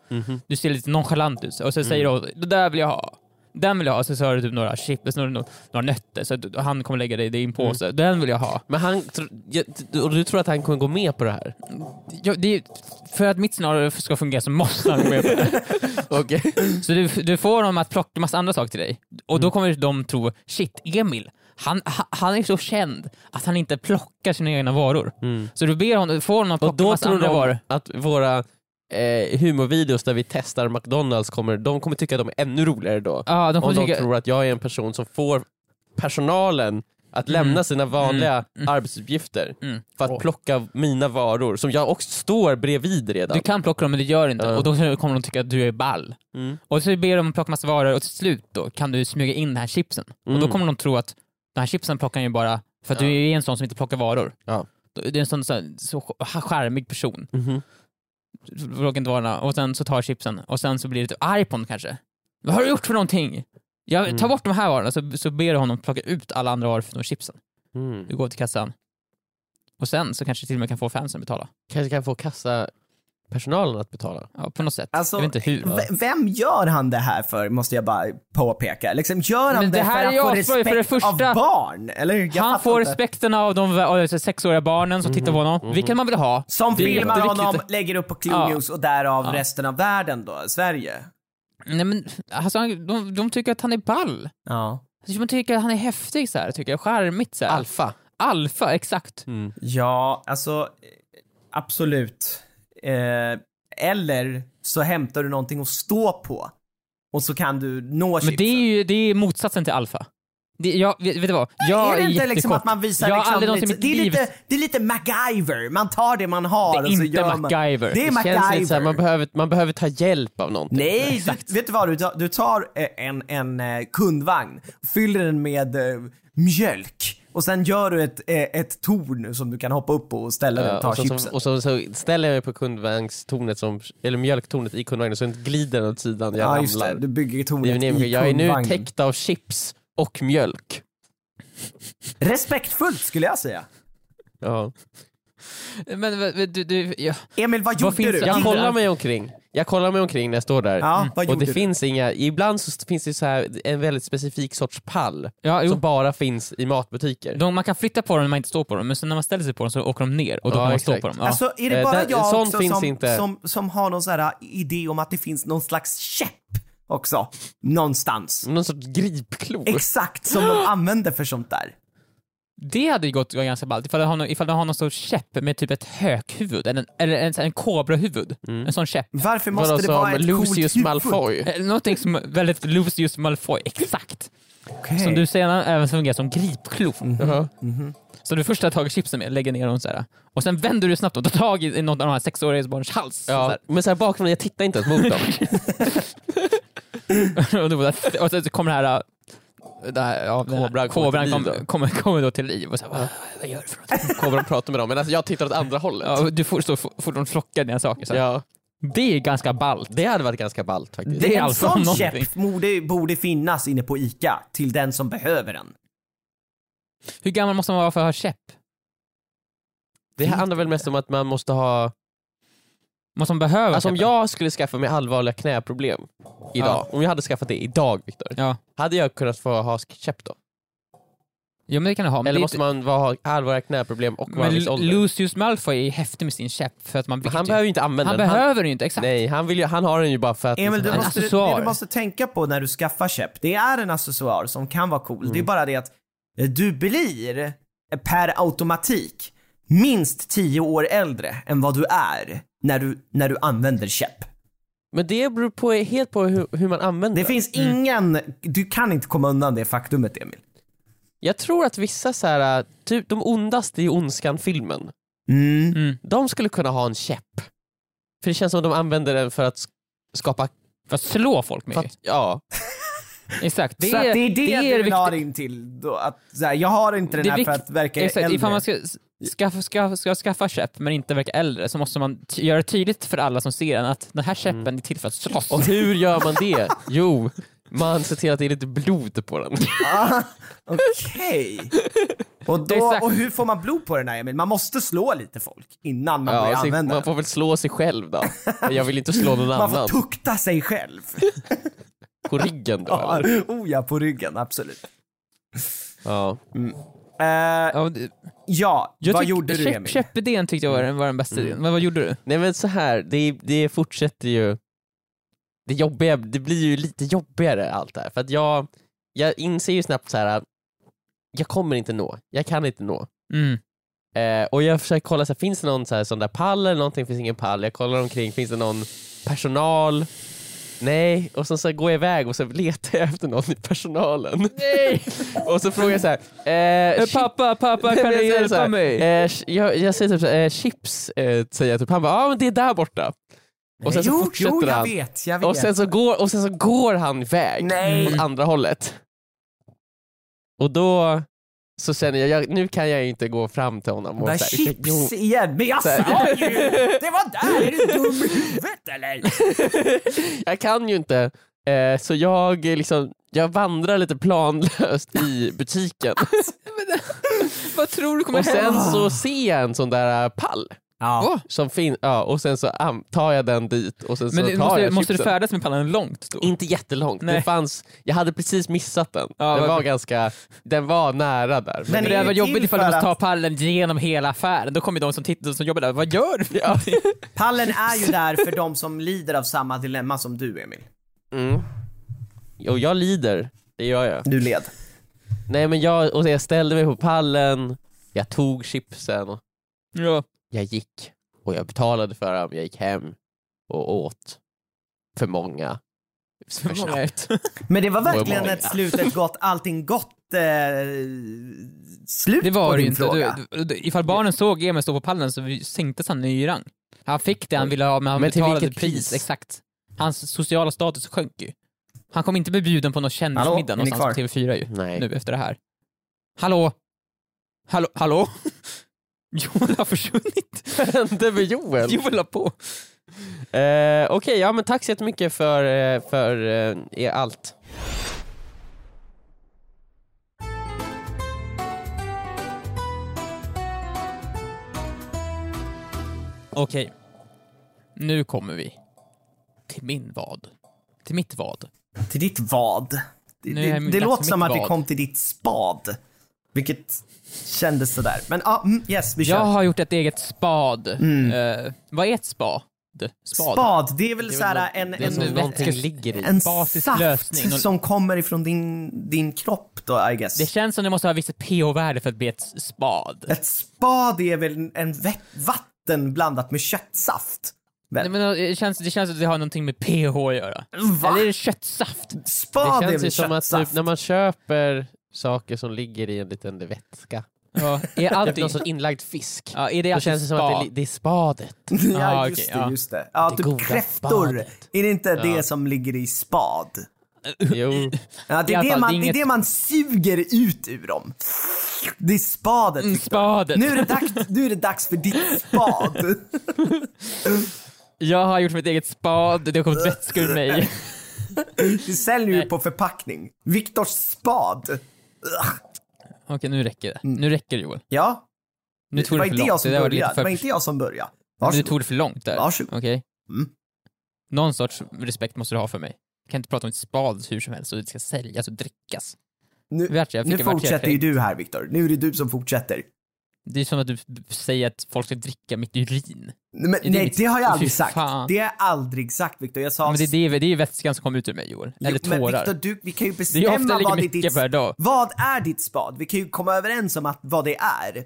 Speaker 3: Du ser lite nonchalant ut så här. och så säger du det där vill jag ha. Den vill jag ha, och så så har du typ några chips, några, några nötter, så att du- han kommer lägga dig det i en påse. Den vill jag ha.
Speaker 2: Men han, tr- ja, t- och du tror att han kommer gå med på det här?
Speaker 3: Ja, det är, för att mitt scenario ska fungera så måste han gå med på det.
Speaker 2: Okej.
Speaker 3: Så du, du får dem att plocka massa andra saker till dig och
Speaker 2: Mm.
Speaker 3: då kommer de tro, shit Emil, han, ha- han är så känd att han inte plockar sina egna varor. Så du ber honom, får honom att
Speaker 2: Mm. Och
Speaker 3: plocka
Speaker 2: då
Speaker 3: massa
Speaker 2: tror
Speaker 3: andra varor.
Speaker 2: de att våra eh, humorvideos där vi testar McDonalds, kommer, de kommer tycka att de är ännu roligare då.
Speaker 3: Ja, de
Speaker 2: om
Speaker 3: kommer
Speaker 2: de
Speaker 3: tycka,
Speaker 2: tror att jag är en person som får personalen Att lämna sina vanliga arbetsuppgifter
Speaker 3: Mm.
Speaker 2: för att plocka mina varor som jag också står bredvid redan.
Speaker 3: Du kan plocka dem men du gör inte
Speaker 2: Ja.
Speaker 3: och då kommer de tycka att du är ball.
Speaker 2: Mm.
Speaker 3: Och så ber de plocka massa varor och till slut då kan du smyga in den här chipsen. Och
Speaker 2: Mm.
Speaker 3: då kommer de tro att den här chipsen plockar han ju bara för att du är en sån som inte plockar varor.
Speaker 2: Ja.
Speaker 3: Du du är en sån, sån så charmig person.
Speaker 2: Mhm.
Speaker 3: Plocka inte varorna och sen så tar chipsen och sen så blir du lite arg på honom kanske. Vad har du gjort för någonting?
Speaker 4: Mm.
Speaker 3: Jag tar bort de här varorna så, så ber du honom plocka ut alla andra varor förutom chipsen.
Speaker 2: Mm.
Speaker 3: Du går till kassan. Och sen så kanske till och med kan få fansen betala.
Speaker 2: Kanske kan få kassapersonalen att betala.
Speaker 3: Ja, på något sätt.
Speaker 4: Alltså,
Speaker 3: jag vet inte hur.
Speaker 4: V- vem gör han det här för, måste jag bara påpeka. Liksom, gör han
Speaker 3: Men
Speaker 4: det,
Speaker 3: det här är
Speaker 4: för
Speaker 3: ju
Speaker 4: att
Speaker 3: asbra
Speaker 4: få
Speaker 3: ju,
Speaker 4: respekt
Speaker 3: för det första-
Speaker 4: av barn? Eller? hur? Jag
Speaker 3: Han
Speaker 4: fattar
Speaker 3: får
Speaker 4: inte. Mm-hmm.
Speaker 3: respekten av de av de sexåriga barnen som tittar på honom, vilket man vill ha.
Speaker 4: Som
Speaker 3: Det är
Speaker 4: filmar
Speaker 3: jätteviktigt.
Speaker 4: honom, lägger upp på Clue
Speaker 3: Ja.
Speaker 4: News och därav resten av världen då, Sverige.
Speaker 3: Nej men, alltså, han- de, de tycker att han är ball.
Speaker 4: Ja.
Speaker 3: De tycker att han är häftig så här, tycker jag. Charmigt så här.
Speaker 2: Alfa.
Speaker 3: Alfa, exakt.
Speaker 4: Ja, alltså eh, absolut. Eh, eller så hämtar du någonting att stå på och så kan du nå
Speaker 3: Men det är ju det är motsatsen till alfa. Det, jag, vet, vet du vad? Jag
Speaker 4: är det inte
Speaker 3: jättekort.
Speaker 4: liksom att man visar
Speaker 3: jag har
Speaker 4: liksom
Speaker 3: aldrig
Speaker 4: lite,
Speaker 3: någonsin i mitt
Speaker 4: det, är
Speaker 3: liv...
Speaker 4: lite, det är lite MacGyver, man tar det man har
Speaker 3: Det är
Speaker 4: och så
Speaker 3: inte
Speaker 4: gör man...
Speaker 3: MacGyver.
Speaker 4: Det är
Speaker 2: Det känns lite så här, man,
Speaker 4: MacGyver.
Speaker 2: behöver, man behöver ta hjälp av någonting.
Speaker 4: Nej, du, vet du vad? Du tar, du tar eh, en, en eh, kundvagn, fyller den med eh, mjölk och sen gör du ett, eh, ett torn som du kan hoppa upp på och ställa den
Speaker 2: Ja,
Speaker 4: och ta
Speaker 2: och, så,
Speaker 4: chipsen.
Speaker 2: så, och så, så ställer jag mig på kundvagnstornet, som, eller mjölktornet i kundvagnen, så den glider den åt sidan. Jag
Speaker 4: ja, just det.
Speaker 2: ramlar.
Speaker 4: Du bygger
Speaker 2: Det är
Speaker 4: tornet
Speaker 2: min egen-
Speaker 4: i
Speaker 2: jag är nu
Speaker 4: kundvagnen.
Speaker 2: täckt av chips och mjölk.
Speaker 4: Respektfullt skulle jag säga.
Speaker 2: Ja.
Speaker 3: Men vad- vad- du, du, ja.
Speaker 4: Emil, vad gjorde
Speaker 3: finns
Speaker 4: du?
Speaker 3: det?
Speaker 2: Jag
Speaker 3: Gillar-
Speaker 2: kollar mig omkring. Jag kollar mig omkring när jag står där.
Speaker 4: Ja,
Speaker 2: och
Speaker 4: vad gjorde
Speaker 2: det
Speaker 4: du?
Speaker 2: finns inga, ibland så finns det så här en väldigt specifik sorts pall
Speaker 3: Ja, jo.
Speaker 2: som bara finns i matbutiker.
Speaker 3: De, man kan flytta på dem när man inte står på dem, men sen när man ställer sig på dem så åker de ner och då
Speaker 2: Ja,
Speaker 3: kan man
Speaker 2: exakt.
Speaker 3: stå på dem. Ja.
Speaker 4: Alltså är det
Speaker 2: Eh,
Speaker 4: bara
Speaker 2: där-
Speaker 4: jag
Speaker 2: sånt
Speaker 4: också
Speaker 2: finns
Speaker 4: som,
Speaker 2: inte.
Speaker 4: Som, som har någon sån här eh, idé om att det finns någon slags käpp också? Någonstans.
Speaker 2: Någon sorts gripklo.
Speaker 4: Exakt som de använder för sånt där.
Speaker 3: det hade ju gått ganska ballt ifall du har någon, ifall du har någon sorts käpp med typ ett hökhuvud, eller en, eller en, en kobrahuvud.
Speaker 4: Mm.
Speaker 3: En sån käpp.
Speaker 4: Varför måste
Speaker 2: Vadå
Speaker 4: det vara
Speaker 2: som
Speaker 4: ett
Speaker 2: Lucius
Speaker 4: coolt huvud?
Speaker 2: Malfoy?
Speaker 3: Eh, Någonting som är väldigt Lucius Malfoy, exakt.
Speaker 4: Okej. Mm.
Speaker 3: Som du senare även fungerar som gripklo.
Speaker 2: Jaha.
Speaker 3: Så du först tar tag i chipsen med, lägger ner dem såhär. Och sen vänder du snabbt och tar tag i i något av de här sexåriga barnens hals.
Speaker 2: Ja, men så här bakom mig, jag tittar inte ens mot dem.
Speaker 3: Såhär. och, då, och sen så kommer det här... äh, Det här ja, den
Speaker 2: Kobran
Speaker 3: här-
Speaker 2: kommer
Speaker 3: kobran
Speaker 2: till
Speaker 3: kommer
Speaker 2: liv
Speaker 3: kommer
Speaker 2: då.
Speaker 3: kommer då till liv. Och så här, vad, vad gör du för något?
Speaker 2: Kobran pratar med dem, men alltså, jag tittar åt andra hållet.
Speaker 3: Ja, och du får stå fortfarande och flocka dina saker. Så här.
Speaker 2: Ja,
Speaker 3: Det är ganska ballt.
Speaker 2: det hade varit ganska ballt faktiskt.
Speaker 3: Det är
Speaker 4: en
Speaker 3: alltså
Speaker 4: sån
Speaker 3: någonting.
Speaker 4: käpp borde, borde finnas inne på ICA till den som behöver den.
Speaker 3: Hur gammal måste man vara för att ha käpp?
Speaker 2: Det handlar väl mest om att man måste ha...
Speaker 3: Måste man behöva
Speaker 2: Alltså om
Speaker 3: käppen?
Speaker 2: jag skulle skaffa mig allvarliga knäproblem idag,
Speaker 3: Ja.
Speaker 2: om jag hade skaffat det idag Viktor,
Speaker 3: Ja.
Speaker 2: hade jag kunnat få ha käpp då?
Speaker 3: ja, men det kan du ha. Men,
Speaker 2: Eller
Speaker 3: det,
Speaker 2: måste man vara- ha allvarliga knäproblem och vara en
Speaker 3: men
Speaker 2: viss ålder?
Speaker 3: Lucius Malfoy är häftig med sin käpp för att man
Speaker 2: Men
Speaker 3: vill
Speaker 2: han
Speaker 3: ju-
Speaker 2: behöver ju inte använda
Speaker 3: han
Speaker 2: den.
Speaker 3: behöver ju inte, exakt.
Speaker 2: nej, han, vill ju, han har den ju bara för att...
Speaker 4: Emil, du
Speaker 2: han,
Speaker 3: en
Speaker 4: måste,
Speaker 3: accessoar.
Speaker 4: det du måste tänka på när du skaffar käpp, det är en accessoar som kan vara cool.
Speaker 3: Mm.
Speaker 4: Det är bara det att eh, du blir eh, per automatik minst 10 år äldre än vad du är när du, när du använder käpp.
Speaker 2: men det beror på, helt på hur, hur man använder
Speaker 4: Det
Speaker 2: den.
Speaker 4: finns
Speaker 3: Mm.
Speaker 4: ingen, du kan inte komma undan det faktumet Emil.
Speaker 2: Jag tror att vissa så här, typ de ondaste i Ondskan-filmen,
Speaker 4: Mm.
Speaker 3: Mm.
Speaker 2: de skulle kunna ha en käpp. För det känns som att de använder den för att sk- skapa...
Speaker 3: För att slå folk med.
Speaker 2: För att, ja.
Speaker 3: Exakt. Det
Speaker 4: så att
Speaker 3: är,
Speaker 4: det är det,
Speaker 3: är
Speaker 4: du vill ha
Speaker 3: viktigt.
Speaker 4: in till då, att så här, jag har inte den
Speaker 3: Det är
Speaker 4: här för
Speaker 3: vikt-
Speaker 4: att verka
Speaker 3: Exakt,
Speaker 4: äldre.
Speaker 3: ifall man ska skaffa, skaffa, ska skaffa käpp men inte verka äldre så måste man ty- göra tydligt för alla som ser den att den här käppen är till för att slåss.
Speaker 2: Mm. Och hur gör man det? Jo, man ser till att det är lite blod på den.
Speaker 4: Ah, Okej. Och, då,
Speaker 3: Exakt.
Speaker 4: och hur får man blod på den här Emil? Man måste slå lite folk innan man börjar
Speaker 2: Ja, så
Speaker 4: använda
Speaker 2: man
Speaker 4: den.
Speaker 2: får väl slå sig själv då. Men Jag vill inte slå någon
Speaker 4: Man
Speaker 2: annan.
Speaker 4: får tukta sig själv.
Speaker 2: På ryggen då
Speaker 4: Ja,
Speaker 2: eller?
Speaker 4: oh ja, på ryggen, absolut.
Speaker 2: Ja.
Speaker 4: Eh,
Speaker 3: Ja, det-
Speaker 4: ja,
Speaker 3: jag
Speaker 4: vad
Speaker 3: tyck-
Speaker 4: gjorde du
Speaker 3: käpp-
Speaker 4: Emil?
Speaker 3: Käppidén tyckte jag var den, var den
Speaker 2: Mm.
Speaker 3: bästa idén. Men vad gjorde du?
Speaker 2: Nej men så här, det, det fortsätter ju... Det, jobbiga, det blir ju lite jobbigare allt det här. För att jag, jag inser ju snabbt så här. att jag kommer inte nå. Jag kan inte nå.
Speaker 3: Mm.
Speaker 2: Eh, och jag försöker kolla, så här, finns det någon så här, sån där pall eller någonting? Finns ingen pall? Jag kollar omkring, finns det någon personal? nej, och sen så går jag iväg och så letar jag efter någon i personalen. Nej! och så frågar jag så här, eh,
Speaker 3: Eh,
Speaker 2: shit,
Speaker 3: Pappa, pappa, kan
Speaker 2: Men
Speaker 3: du
Speaker 2: jag säger så här,
Speaker 3: hjälpa mig?
Speaker 2: eh, sh- jag, jag säger typ så här, eh, chips, eh, säger jag typ. Han bara, ja ah, men det är där borta. Och sen så
Speaker 4: jo,
Speaker 2: fortsätter
Speaker 4: jo, jag
Speaker 2: han.
Speaker 4: vet, jag vet.
Speaker 2: Och sen, så går, och sen så går han iväg
Speaker 4: Nej.
Speaker 2: åt andra hållet. Och då så känner jag, jag, nu kan jag inte gå fram till honom. Och
Speaker 4: Där
Speaker 2: så här, jo,
Speaker 4: chips igen, men jag
Speaker 2: Så här.
Speaker 4: sa ju! Det var där! Är du dum i huvudet eller?
Speaker 2: jag kan ju inte. Eh, så jag, eh, liksom, jag vandrar lite planlöst i butiken.
Speaker 3: Alltså, Vad tror du kommer
Speaker 2: och sen
Speaker 3: hända? Ah.
Speaker 2: så ser jag en sån där eh, pall.
Speaker 4: Ja.
Speaker 2: Som fin- ja, och sen så am- tar jag den dit och sen så
Speaker 3: Men
Speaker 2: tar
Speaker 3: det,
Speaker 2: jag
Speaker 3: måste, måste du
Speaker 2: chipsen.
Speaker 3: färdas med pallen långt då?
Speaker 2: Inte jättelångt. Det
Speaker 3: Nej.
Speaker 2: fanns, jag hade precis missat den.
Speaker 3: Ja,
Speaker 2: den,
Speaker 3: vad-
Speaker 2: var ganska, den var nära där.
Speaker 4: Den
Speaker 3: Men det hade varit
Speaker 4: ju till
Speaker 3: jobbigt ifall du
Speaker 4: för
Speaker 3: måste ta
Speaker 4: att-
Speaker 3: pallen genom hela affären. Då kommer de som, tittar, som jobbar där, vad gör du?
Speaker 4: Pallen är ju där för de som lider av samma dilemma som du Emil.
Speaker 2: Mm. Och jag lider, det gör jag.
Speaker 4: Du led.
Speaker 2: Nej men jag, och jag ställde mig på pallen, jag tog chipsen, och
Speaker 3: Ja.
Speaker 2: jag gick och jag betalade för dem, jag gick hem och åt för många. För snabbt.
Speaker 4: Men det var verkligen
Speaker 2: Många.
Speaker 4: ett slutet gott, allting gott eh, slut
Speaker 3: Det var
Speaker 4: på
Speaker 3: det
Speaker 4: din
Speaker 3: ju inte.
Speaker 4: fråga.
Speaker 3: Du, du, du, ifall barnen såg Emil stå på pallen så sänktes han i rang. Han fick det han ville ha men han
Speaker 2: Men till
Speaker 3: betalade
Speaker 2: vilket pris?
Speaker 3: Exakt. Hans sociala status sjönk ju. Han kommer inte bli bjuden på någon
Speaker 4: Hallå, är
Speaker 3: kändismiddag
Speaker 4: ni
Speaker 3: någonstans på TV4 ju.
Speaker 2: Nej.
Speaker 3: Nu efter det här. Hallå? Hallå? Hallå? Joel har försvunnit.
Speaker 2: Vad hände med Joel?
Speaker 3: Joel la på.
Speaker 2: Eh, Okej, ja men tack så jättemycket för, eh, för eh, er allt.
Speaker 3: Okej. Nu kommer vi till min vad. Till mitt vad.
Speaker 4: Till ditt vad. Det,
Speaker 3: Nu är
Speaker 4: det,
Speaker 3: min-
Speaker 4: det
Speaker 3: dags
Speaker 4: låter
Speaker 3: för
Speaker 4: som
Speaker 3: mitt
Speaker 4: att vi
Speaker 3: vad.
Speaker 4: kom till ditt spad. Vilket kändes sådär. Men ja, mm, yes vi kör. Mm.
Speaker 3: Jag har gjort ett eget spad. Eh, vad är ett spad? Spad.
Speaker 4: Spad, det är väl
Speaker 2: Det är
Speaker 4: såhär
Speaker 2: väl
Speaker 4: en,
Speaker 2: nå- det är
Speaker 4: en,
Speaker 2: som någonting
Speaker 4: vätske-
Speaker 2: ligger i.
Speaker 4: en
Speaker 3: basisk
Speaker 4: saft
Speaker 3: lösning.
Speaker 4: som kommer ifrån din, din kropp då I guess.
Speaker 3: Det känns som det måste ha visst pH-värde för att bli ett spad.
Speaker 4: Ett spad är väl en vä- vatten blandat med köttsaft? Väl?
Speaker 3: Nej, men eh, det, känns, det känns att det har någonting med pH att göra.
Speaker 4: Va?
Speaker 3: Eller är det köttsaft?
Speaker 4: spad
Speaker 2: det
Speaker 4: är
Speaker 2: känns ju
Speaker 4: väl
Speaker 2: som att
Speaker 4: köttsaft?
Speaker 2: typ, när man köper saker som ligger i en liten vätska,
Speaker 3: Ja, är allt
Speaker 2: Typ någon sorts inlagd fisk,
Speaker 3: Ja, är det
Speaker 2: då
Speaker 3: alltså
Speaker 2: känns det som
Speaker 3: spa?
Speaker 2: att det, li- det är spadet.
Speaker 4: ja,
Speaker 3: Ah,
Speaker 4: just
Speaker 3: okej,
Speaker 4: det,
Speaker 3: ja.
Speaker 4: just det. Ja,
Speaker 2: Det
Speaker 4: typ
Speaker 2: goda
Speaker 4: kräftor.
Speaker 2: spadet.
Speaker 4: Är det inte det som ligger i spad?
Speaker 2: Jo.
Speaker 4: Ja, det,
Speaker 3: I
Speaker 4: är
Speaker 3: alla
Speaker 4: det,
Speaker 3: fall,
Speaker 4: man,
Speaker 3: det är
Speaker 4: det är
Speaker 3: inget-
Speaker 4: det man suger ut ur dem. Det är spadet.
Speaker 3: Mm,
Speaker 4: Victor.
Speaker 3: spadet.
Speaker 4: Nu är, det dags, nu är det dags för ditt spad.
Speaker 3: Jag har gjort mitt eget spad, det har kommit vätska ur mig.
Speaker 4: Du säljer ju på förpackning. Viktors spad. Ugh.
Speaker 3: Okej, nu räcker det. Nu räcker det Joel.
Speaker 4: Ja,
Speaker 3: Nu
Speaker 4: Mm. det
Speaker 3: tog
Speaker 4: var
Speaker 3: det för
Speaker 4: inte jag
Speaker 3: långt.
Speaker 4: som
Speaker 3: Det där var
Speaker 4: började.
Speaker 3: lite
Speaker 4: Det
Speaker 3: för
Speaker 4: var inte jag som började.
Speaker 3: Du
Speaker 4: Varsågod.
Speaker 3: tog det för långt där.
Speaker 4: Varsågod.
Speaker 3: Okej.
Speaker 4: Mm.
Speaker 3: Någon sorts respekt måste du ha för mig. Jag kan inte prata om ett spad hur som helst och det ska säljas och drickas.
Speaker 4: Nu,
Speaker 3: Vart jag fick
Speaker 4: nu
Speaker 3: en vart jag
Speaker 4: fortsätter ju
Speaker 3: fick.
Speaker 4: du här Viktor. Nu är det du som fortsätter.
Speaker 3: Det är som att du säger att folk ska dricka mitt urin.
Speaker 4: Men,
Speaker 3: det
Speaker 4: nej,
Speaker 3: mitt-
Speaker 4: det har jag
Speaker 3: Fy
Speaker 4: aldrig sagt.
Speaker 3: fan.
Speaker 4: Det har jag aldrig sagt Viktor. Jag sa...
Speaker 3: Men det, är det, det är ju vätskan som kommer ut ur mig Joel.
Speaker 4: Jo,
Speaker 3: Eller
Speaker 4: Men
Speaker 3: tårar.
Speaker 4: Viktor, du, vi kan ju
Speaker 3: Det är ju
Speaker 4: bestämma
Speaker 3: ofta
Speaker 4: vad
Speaker 3: lika
Speaker 4: det är
Speaker 3: mycket
Speaker 4: ditt...
Speaker 3: per dag.
Speaker 4: Vad är ditt spad? Vi kan ju komma överens om att, vad det är.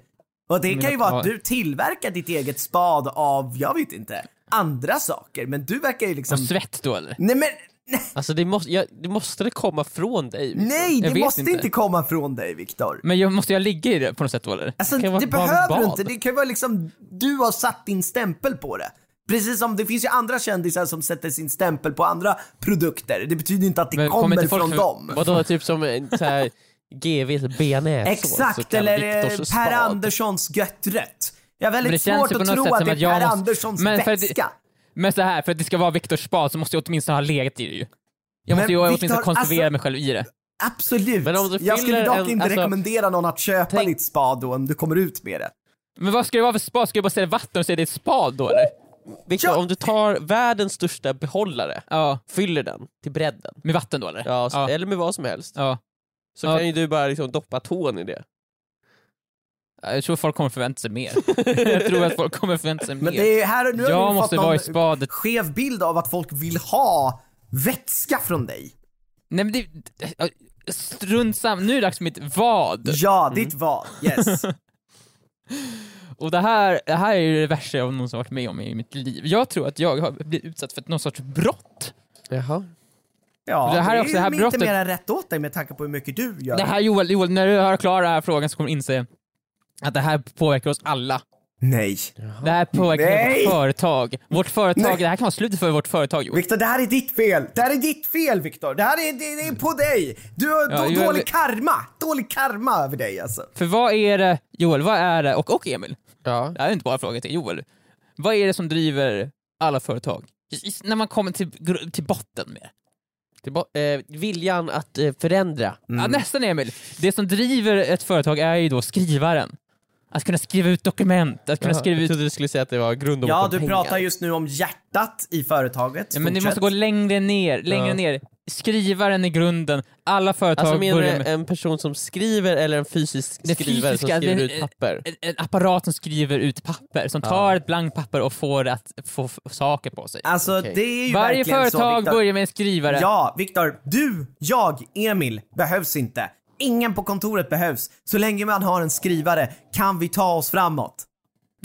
Speaker 4: Och det
Speaker 3: Men
Speaker 4: kan ju
Speaker 3: vad-
Speaker 4: vara att du tillverkar ditt eget spad av, jag vet inte, andra saker. Men du verkar ju liksom...
Speaker 3: Och svett då eller?
Speaker 4: Nej men, nej,
Speaker 2: Alltså det måste, jag, det måste det komma från dig. Victor.
Speaker 4: nej
Speaker 3: Jag
Speaker 4: det
Speaker 3: vet
Speaker 4: måste inte.
Speaker 3: inte.
Speaker 4: komma från dig Viktor.
Speaker 3: Men jag, måste jag ligga i det på något sätt då eller?
Speaker 4: Alltså
Speaker 3: Kan
Speaker 4: det,
Speaker 3: jag vara bara
Speaker 4: behöver
Speaker 3: bad?
Speaker 4: du inte. Det kan ju vara liksom, du har satt din stämpel på det. Precis som det finns ju andra kändisar som sätter sin stämpel på andra produkter. Det betyder inte att det
Speaker 3: Men kommer
Speaker 4: kommer
Speaker 3: inte folk
Speaker 4: från
Speaker 3: för-
Speaker 4: dem.
Speaker 2: Vadå, typ som en så här GVs bearnaisesås? så
Speaker 4: Exakt,
Speaker 2: kallad
Speaker 4: eller eh,
Speaker 2: Viktors
Speaker 4: Per
Speaker 2: spad.
Speaker 4: Anderssons götträtt. Jag
Speaker 3: Men
Speaker 4: har väldigt
Speaker 3: det känns
Speaker 4: svårt
Speaker 3: ju på
Speaker 4: att
Speaker 3: något
Speaker 4: tro
Speaker 3: sätt
Speaker 4: att
Speaker 3: som
Speaker 4: det är
Speaker 3: att jag
Speaker 4: Per
Speaker 3: måste-
Speaker 4: Anderssons
Speaker 3: Men för att det-
Speaker 4: vätska.
Speaker 3: Men så här, för att det ska vara Viktors spad så måste jag åtminstone ha legat i det ju. Jag måste ju
Speaker 4: Men Viktor,
Speaker 3: åtminstone konservera
Speaker 4: alltså-
Speaker 3: mig själv i det.
Speaker 4: Absolut.
Speaker 2: Men om du
Speaker 4: jag skulle
Speaker 2: fyller
Speaker 4: dock
Speaker 2: en-
Speaker 4: inte
Speaker 2: alltså-
Speaker 4: rekommendera någon att köpa
Speaker 2: Tänk-
Speaker 4: ditt spad då om du kommer ut med det.
Speaker 3: Men vad ska det vara för spad? Ska jag bara säga vatten och säga det är ett spad då eller?
Speaker 2: Victor,
Speaker 4: Ja.
Speaker 2: om du tar världens största behållare,
Speaker 3: Ja,
Speaker 2: fyller den till bredden,
Speaker 3: med vatten då eller?
Speaker 2: ja, så,
Speaker 3: ja.
Speaker 2: eller med vad som helst,
Speaker 3: ja.
Speaker 2: så
Speaker 3: Ja.
Speaker 2: kan ju du bara liksom doppa tån i det.
Speaker 3: Jag tror folk kommer förvänta sig mer. jag tror att folk kommer förvänta sig
Speaker 4: Men
Speaker 3: mer.
Speaker 4: det är ju här nu har
Speaker 3: Jag
Speaker 4: vi
Speaker 3: måste
Speaker 4: fått
Speaker 3: vara i
Speaker 4: någon
Speaker 3: spadet.
Speaker 4: skev bild av att folk vill ha vätska från dig.
Speaker 3: Nej men det... Strunt samma. Nu är det dags för mitt vad.
Speaker 4: Ja, ditt vad. Yes.
Speaker 3: Och det här, det här är ju det värsta jag någonsin varit med om i mitt liv. Jag tror att jag har blivit utsatt för någon sorts brott
Speaker 2: Jaha.
Speaker 4: Ja,
Speaker 3: Det
Speaker 4: det,
Speaker 3: här är
Speaker 4: är,
Speaker 3: också det här
Speaker 4: ju
Speaker 3: brottet-
Speaker 4: inte mer än rätt åt dig med tanke på hur mycket du gör.
Speaker 3: Det här Joel, Joel, när du har klarat den här frågan så kommer du inse att det här påverkar oss alla.
Speaker 4: Nej.
Speaker 3: Det här påverkar
Speaker 4: Nej.
Speaker 3: vårt företag. Vårt företag,
Speaker 4: Nej.
Speaker 3: det här kan vara slutet för vårt företag Joel.
Speaker 4: Viktor, det här är ditt fel. Det här är ditt fel Viktor. Det här är, det, det är på dig. Du har
Speaker 3: Ja,
Speaker 4: då,
Speaker 3: Joel-
Speaker 4: dålig karma. Dålig karma över dig alltså.
Speaker 3: För vad är det, Joel, vad är det, och, och Emil,
Speaker 2: Ja.
Speaker 3: det här är inte bara en fråga till Joel. Vad är det som driver alla företag? I- i- När man kommer till, gr- till botten med det.
Speaker 2: Det var, eh, viljan att eh, förändra.
Speaker 3: ja, Nästan Emil, det som driver ett företag är ju då skrivaren. Att kunna skriva ut dokument, att kunna skriva
Speaker 2: Jag
Speaker 3: ut...
Speaker 2: trodde du skulle säga att det var grunden
Speaker 4: Ja,
Speaker 2: bakom
Speaker 4: du
Speaker 2: pengar.
Speaker 4: pratar just nu om hjärtat i företaget.
Speaker 3: Ja, men ni
Speaker 4: Fortsätt.
Speaker 3: måste gå längre ner, längre ner. Skrivaren i grunden, alla företag
Speaker 2: Alltså menar du
Speaker 3: börjar med...
Speaker 2: en person som skriver eller en fysisk
Speaker 3: Det
Speaker 2: skrivare
Speaker 3: fysiska,
Speaker 2: som skriver
Speaker 3: det-
Speaker 2: ut papper?
Speaker 3: en, en apparat som skriver ut papper, som tar ett blankt papper och får det att få f- saker på sig.
Speaker 4: Alltså
Speaker 2: Okej.
Speaker 4: det är ju
Speaker 3: Varje
Speaker 4: verkligen så,
Speaker 3: företag
Speaker 4: Viktor.
Speaker 3: börjar med en skrivare.
Speaker 4: Ja, Viktor. Du, jag, Emil behövs inte. Ingen på kontoret behövs. Så länge man har en skrivare kan vi ta oss framåt.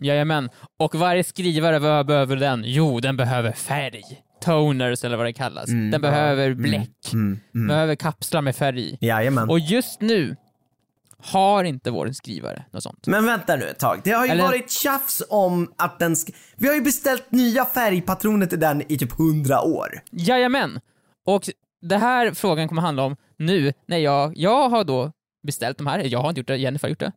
Speaker 3: Jajamän. Och varje skrivare, vad behöver den? Jo, den behöver färg. Toners eller vad det kallas.
Speaker 4: Mm,
Speaker 3: den behöver bläck. Behöver kapslar med färg.
Speaker 4: Jajamän.
Speaker 3: Och just nu har inte vår skrivare något sånt.
Speaker 4: Men vänta nu ett tag. Det har ju
Speaker 3: Eller-
Speaker 4: varit tjafs om att den sk- Vi har ju beställt nya färgpatroner till den i typ 100 år.
Speaker 3: Jajamän! Och det här frågan kommer handla om nu när jag, jag har då beställt de här, jag har inte gjort det, Jennifer har gjort det.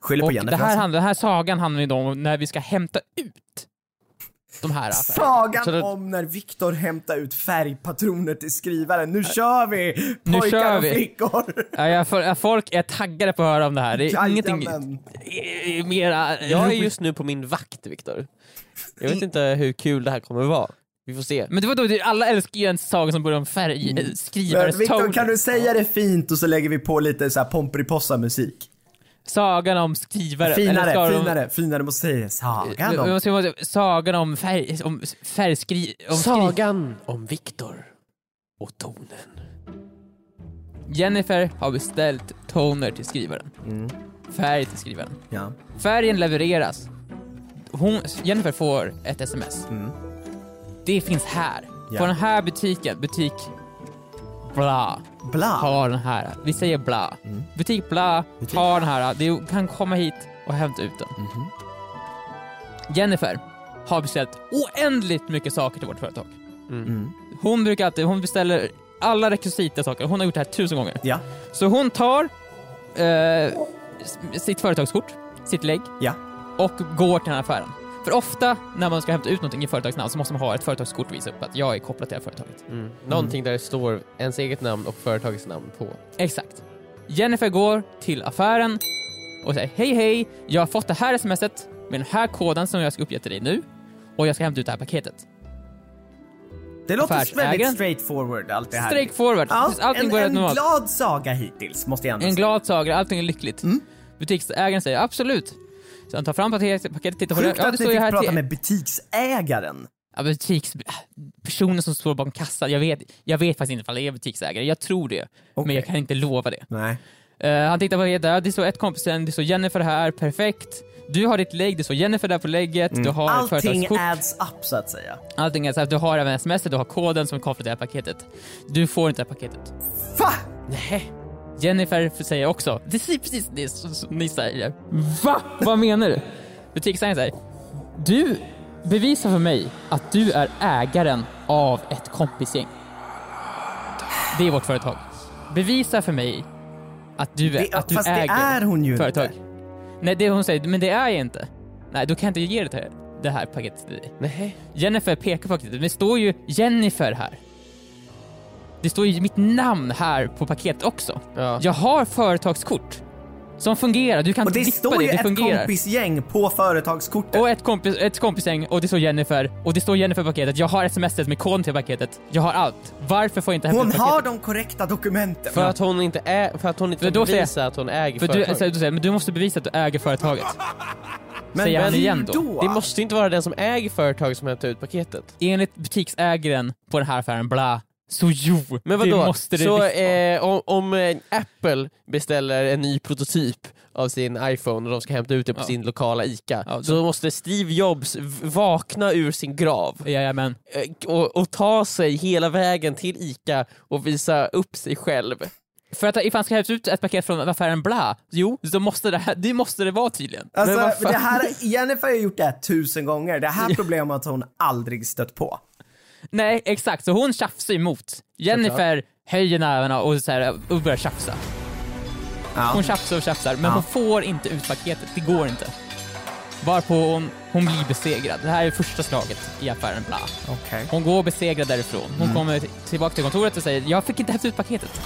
Speaker 4: Skyller på
Speaker 3: Och
Speaker 4: Mm, Jennifer.
Speaker 3: det här,
Speaker 4: alltså.
Speaker 3: handlar, den här sagan handlar ju då om när vi ska hämta ut de här affärerna.
Speaker 4: Sagan
Speaker 2: Så det-
Speaker 4: om när Viktor hämtar ut färgpatroner till skrivaren. Nu kör vi! Pojkar
Speaker 3: kör
Speaker 4: och
Speaker 3: vi.
Speaker 4: flickor!
Speaker 3: Ja, jag får- folk är taggade på att höra om det här. Det är ingenting nytt.
Speaker 4: Jajamän.
Speaker 3: Det är Mera...
Speaker 2: Jag är just nu på min vakt, Viktor. Jag vet inte hur kul det här kommer vara. Vi får se.
Speaker 3: Men det var då, det- alla älskar ju en saga som börjar om färg, eh, skrivares
Speaker 4: Mm. Men Viktor,
Speaker 3: toner.
Speaker 4: kan du säga det fint och så lägger vi på lite så här Pomperipossa musik?
Speaker 3: Sagan om skrivare.
Speaker 4: Finare,
Speaker 3: Eller ska de-
Speaker 4: finare, finare måste säga det. Sagan
Speaker 3: Vi
Speaker 4: om...
Speaker 3: måste- vi måste- Sagan om färg... Om färgskri... Om skri-
Speaker 2: Sagan om Viktor och tonen.
Speaker 3: Jennifer har beställt toner till skrivaren.
Speaker 4: Mm.
Speaker 3: Färg till skrivaren.
Speaker 4: Ja.
Speaker 3: Färgen levereras. Hon, Jennifer får ett sms. Det finns här.
Speaker 4: Mm. Ja.
Speaker 3: På den här butiken, butik... Bla.
Speaker 4: Bla.
Speaker 3: Har den här. Vi säger bla. Butik bla,
Speaker 4: Butik.
Speaker 3: har den här. Du kan komma hit och hämta ut den. Jennifer har beställt oändligt mycket saker till vårt företag. Hon brukar alltid, hon beställer alla rekvisita saker. Hon har gjort det här tusen gånger.
Speaker 4: Ja,
Speaker 3: Så hon tar eh, s- sitt företagskort, sitt lägg
Speaker 4: ja.
Speaker 3: och går till den här affären. För ofta när man ska hämta ut någonting i företagsnamn så måste man ha ett företagskort och visa upp att jag är kopplad till det här företaget.
Speaker 2: Någonting där det står ens eget namn och företagets namn på.
Speaker 3: Exakt. Jennifer går till affären och säger hej hej, jag har fått det här smset med den här koden som jag ska uppge till dig nu och jag ska hämta ut det här paketet.
Speaker 4: Det låter
Speaker 3: Affärsägaren.
Speaker 4: väldigt straightforward allt det här.
Speaker 3: Straight forward,
Speaker 4: Ja,
Speaker 3: allting
Speaker 4: en,
Speaker 3: börjar
Speaker 4: en
Speaker 3: normalt.
Speaker 4: glad saga hittills måste jag ändå
Speaker 3: En
Speaker 4: säga.
Speaker 3: glad saga, allting är lyckligt.
Speaker 4: Mm.
Speaker 3: Butiksägaren säger absolut. Så han tar fram paketet, paketet tittar på det.
Speaker 4: Sjukt
Speaker 3: Ja, det
Speaker 4: att ni
Speaker 3: står ju
Speaker 4: fick
Speaker 3: här
Speaker 4: prata
Speaker 3: till...
Speaker 4: med butiksägaren.
Speaker 3: Ja, butiks... Personen som står bakom kassan, jag vet, jag vet faktiskt inte ifall det är butiksägare. Jag tror det, men
Speaker 4: Okej.
Speaker 3: jag kan inte lova det.
Speaker 4: Nej.
Speaker 3: Eh, han tittar på det där, det står ett kompisen, det står Jennifer här, perfekt. Du har ditt lägg, det står Jennifer där på lägget, du har ett
Speaker 4: Allting
Speaker 3: företagskort.
Speaker 4: adds up så att säga.
Speaker 3: Allting är så här, du har även sms, du har koden som är kopplad till det här paketet. Du får inte det här paketet.
Speaker 4: Va?
Speaker 3: Nej. Jennifer säger också, det är precis det som som ni säger. Va? Vad menar du? Butiksägaren säger, du bevisar för mig att du är ägaren av ett kompisgäng. Det är vårt företag. Bevisa för mig att du, är,
Speaker 4: Det,
Speaker 3: att du
Speaker 4: fast
Speaker 3: äger
Speaker 4: det är hon ju
Speaker 3: företag.
Speaker 4: inte.
Speaker 3: Nej, det hon säger, men det är jag inte. Nej, då kan jag inte ge det här, det här paketet till dig.
Speaker 2: Nej.
Speaker 3: Jennifer pekar på paketet, men det står ju Jennifer här. Det står ju mitt namn här på paketet också.
Speaker 2: Ja.
Speaker 3: Jag har företagskort som fungerar, du kan
Speaker 4: Och det
Speaker 3: dippa
Speaker 4: står ju
Speaker 3: det
Speaker 4: ett
Speaker 3: fungerar.
Speaker 4: kompisgäng på företagskortet.
Speaker 3: Och ett, kompis, ett kompisgäng och det står Jennifer och det står Jennifer på paketet. Jag har smset med koden till paketet. Jag har allt. Varför får jag inte
Speaker 4: Hon
Speaker 3: hämta ut
Speaker 4: har
Speaker 3: paketet?
Speaker 4: de korrekta dokumenten.
Speaker 2: För att hon inte, är, för att hon inte
Speaker 3: För
Speaker 2: för
Speaker 3: då säger-
Speaker 2: bevisar att hon äger
Speaker 3: För du,
Speaker 2: företaget.
Speaker 3: så, du säger, men du måste bevisa att du äger företaget.
Speaker 4: men
Speaker 3: säger han
Speaker 4: hur
Speaker 3: igen då?
Speaker 2: Det måste inte vara den som äger företaget som hämtar ut paketet.
Speaker 3: Enligt butiksägaren på den här affären, bla, Så jo,
Speaker 2: Men
Speaker 3: det
Speaker 2: vadå?
Speaker 3: måste det
Speaker 2: så
Speaker 3: visst vara.
Speaker 2: eh, om, om eh, Apple beställer en ny prototyp av sin iPhone och de ska hämta ut det på
Speaker 3: Ja.
Speaker 2: sin lokala ICA,
Speaker 3: Ja, då-
Speaker 2: så måste Steve Jobs v- vakna ur sin grav
Speaker 3: Jajamän.
Speaker 2: eh, och, och ta sig hela vägen till ICA och visa upp sig själv.
Speaker 3: För att ifall han ska hämta ut ett paket från affären Bla, jo, så måste det, här, det, måste det vara tydligen.
Speaker 2: Men vad
Speaker 4: Alltså,
Speaker 2: fan?
Speaker 4: det här, Jennifer har gjort det här tusen gånger. Det här problemet har hon aldrig stött på.
Speaker 3: Nej, exakt, så hon tjafsar emot. Jennifer höjer nävarna och, så här, och börjar tjafsa.
Speaker 4: Ja.
Speaker 3: Hon tjafsar och tjafsar, men
Speaker 4: Ja.
Speaker 3: hon får inte ut paketet. Det går inte. Varpå hon, hon blir besegrad. Det här är första slaget i affären Bla.
Speaker 4: Okej.
Speaker 3: Hon går besegrad därifrån.
Speaker 4: Mm.
Speaker 3: Hon kommer t- tillbaka till kontoret och säger “Jag fick inte hämta ut paketet”.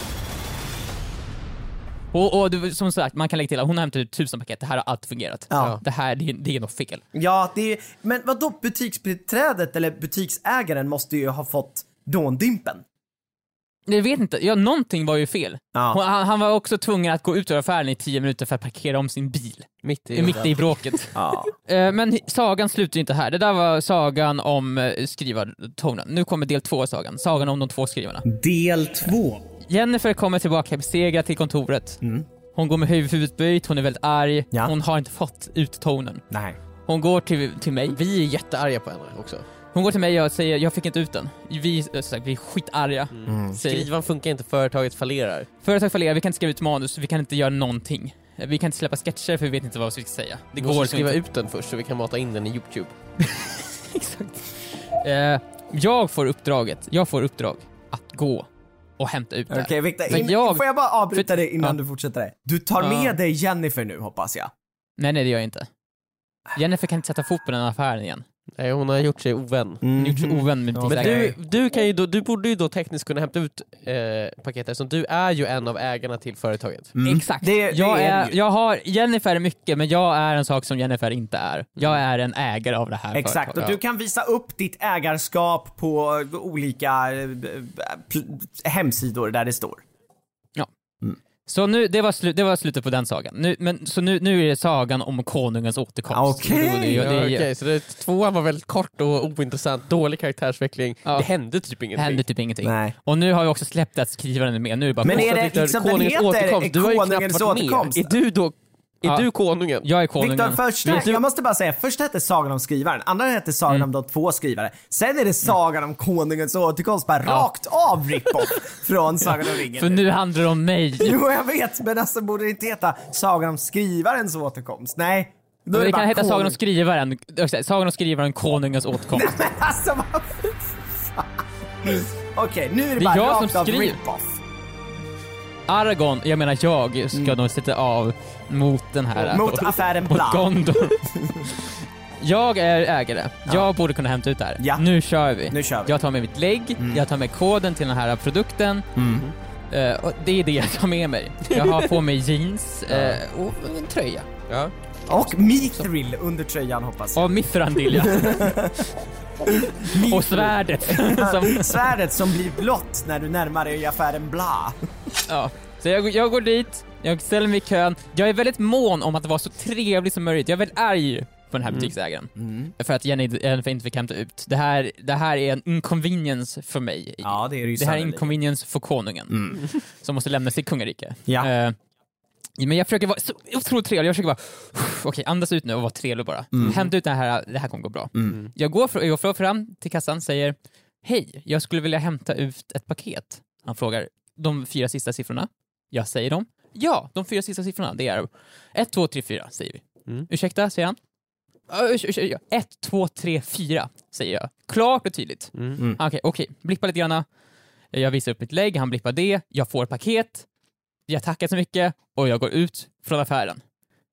Speaker 3: Och, och det- som sagt, man kan lägga till att hon har hämtat ut tusen paket. Det här har alltid fungerat.
Speaker 4: Ja.
Speaker 3: Det här, det, är- det är något fel.
Speaker 4: Ja, det är, men vadå butiksbiträdet eller butiksägaren måste ju ha fått dåndimpen.
Speaker 3: Jag vet inte, ja, någonting var ju fel.
Speaker 4: Ja.
Speaker 3: Hon, han, han var också tvungen att gå ut ur affären i tio minuter för att parkera om sin bil.
Speaker 2: Mitt i.
Speaker 3: Mitt i bråket.
Speaker 4: Ja.
Speaker 3: Eh, Men hi- sagan slutar ju inte här. Det där var sagan om eh, skrivartornen. Nu kommer del två av sagan. Sagan om de två skrivarna.
Speaker 4: Mm. Del två.
Speaker 3: Jennifer kommer tillbaka besegrad till kontoret. Hon går med huvudet böjt, hon är väldigt arg.
Speaker 4: Mm. Ja.
Speaker 3: Hon har inte fått ut tonen.
Speaker 4: Nej.
Speaker 3: Hon går till, till mig.
Speaker 2: Vi är jättearga på henne också.
Speaker 3: Hon går till mig och säger jag fick inte ut den. Vi, eh, som sagt, vi är skitarga.
Speaker 4: Mm.
Speaker 3: Säger,
Speaker 2: Skrivan funkar inte, företaget fallerar.
Speaker 3: Företag fallerar, vi kan inte skriva ut manus, vi kan inte göra någonting. Eh, Vi kan inte släppa sketcher för vi vet inte vad vi ska säga. Det
Speaker 2: Vi måste
Speaker 3: går liksom
Speaker 2: skriva
Speaker 3: inte.
Speaker 2: ut den först så vi kan mata in den i Youtube.
Speaker 3: Exakt. Eh, jag får uppdraget, jag får uppdrag att gå och hämta ut det
Speaker 4: Okej
Speaker 3: här.
Speaker 4: Viktor,
Speaker 3: Men
Speaker 4: in-
Speaker 3: jag-
Speaker 4: får jag bara avbryta
Speaker 3: för-
Speaker 4: dig innan
Speaker 3: ja.
Speaker 4: du fortsätter? Du tar
Speaker 3: Ja.
Speaker 4: med dig Jennifer nu hoppas jag.
Speaker 3: Nej, nej det gör jag inte. Jennifer kan inte sätta fot på den här affären igen.
Speaker 2: Nej, hon har gjort sig ovän.
Speaker 3: Hon har gjort
Speaker 4: Mhm.
Speaker 3: sig ovän med
Speaker 2: Men du,
Speaker 3: butiksägaren.
Speaker 2: du, kan ju då, du borde ju då tekniskt kunna hämta ut eh, paketet eftersom du är ju en av ägarna till företaget.
Speaker 3: Exakt.
Speaker 4: Mm. Det- det
Speaker 3: jag,
Speaker 4: är
Speaker 3: är,
Speaker 4: det ju.
Speaker 3: jag har Jennifer är mycket, men jag är en sak som Jennifer inte är. Jag är en ägare av det här
Speaker 4: Mm. Exakt, och
Speaker 3: företaget.
Speaker 4: du kan visa upp ditt ägarskap på olika eh, pl- hemsidor där det står.
Speaker 3: Så nu, det var, slu, det var slutet på den sagan. Nu, men, så nu, nu är det sagan om konungens återkomst.
Speaker 4: Okej.
Speaker 3: Det är- det
Speaker 2: Ja,
Speaker 3: är-
Speaker 2: okej, så det, tvåan var väldigt kort och ointressant, dålig karaktärsutveckling.
Speaker 3: Ja.
Speaker 2: Det hände typ
Speaker 3: Det
Speaker 2: ingenting.
Speaker 3: hände typ ingenting.
Speaker 4: Nej.
Speaker 3: Och nu har vi också släppt att skrivaren är med. Nu är det bara
Speaker 4: Men
Speaker 3: kon-
Speaker 4: är det
Speaker 2: Viktor,
Speaker 4: liksom, den heter
Speaker 2: återkomst, du har ju
Speaker 4: Konungens
Speaker 2: knappt varit
Speaker 4: återkomst.
Speaker 2: med. Är du då, är
Speaker 3: Ja.
Speaker 2: du konungen?
Speaker 3: Jag är konungen.
Speaker 4: Viktor, första,
Speaker 3: Vet du- Mm.
Speaker 4: jag måste bara säga, första hette Sagan om skrivaren, andra hette Sagan om de två skrivare. Sen är det Sagan om konungens återkomst, bara rakt av rip-off från Sagan om ringen.
Speaker 3: För nu handlar det om mig.
Speaker 4: Jo, jag vet, men alltså borde det inte heta Sagan om skrivarens återkomst? Nej. Då är
Speaker 3: Det
Speaker 4: bara
Speaker 3: kan heta Sagan om
Speaker 4: konung.
Speaker 3: skrivaren, Exakt, Sagan om skrivaren, konungens återkomst.
Speaker 4: Men alltså vad fan. Okej, nu är det,
Speaker 3: Det är
Speaker 4: bara
Speaker 3: jag
Speaker 4: rakt
Speaker 3: som
Speaker 4: av
Speaker 3: skriver.
Speaker 4: rip-off.
Speaker 3: Aragon, jag menar jag, ska då sätta av mot den här...
Speaker 4: Mm. Mot affären
Speaker 3: mot
Speaker 4: Bla.
Speaker 3: Gondor. jag är ägare. Jag borde kunna hämta ut det här.
Speaker 4: Ja.
Speaker 3: Nu kör vi.
Speaker 4: Nu kör vi. Mm.
Speaker 3: Jag tar med mitt lägg, jag tar med koden till den här produkten. Eh, och det är det jag tar med mig. Jag har på mig jeans eh, och en tröja.
Speaker 2: Ja.
Speaker 4: Och Mithril under tröjan hoppas jag.
Speaker 3: Och mithrandilja. och svärdet. som,
Speaker 4: Svärdet som blir blått när du närmar dig affären Bla.
Speaker 3: ja. Så jag, jag går dit, jag ställer mig i kön. Jag är väldigt mån om att vara så trevlig som möjligt. Jag är väldigt arg på den här butiksägaren. För att Jenny, Jennifer inte fick hämta ut. Det här, det här är en inconvenience för mig.
Speaker 4: Ja, det är det ju
Speaker 3: Det här är
Speaker 4: sannolikt.
Speaker 3: inconvenience för konungen som måste lämna sitt kungarike.
Speaker 4: Ja.
Speaker 3: Eh, men jag försöker vara så otroligt trevlig, jag försöker bara okej andas ut nu och vara trevlig bara. Hämta ut det här, det här kommer gå bra. Jag, går, fr- jag går fram till kassan säger Hej, jag skulle vilja hämta ut ett paket. Han frågar de fyra sista siffrorna. Jag säger dem. Ja, de fyra sista siffrorna, det är 1, 2, 3, 4 säger vi.
Speaker 2: Mm.
Speaker 3: Ursäkta, säger han. 1, 2, 3, 4 säger jag. Klart och tydligt. Ah, Okej, okej. Blippa lite grann. Jag visar upp mitt lägg, han blippar det, jag får paket, jag tackar så mycket och jag går ut från affären.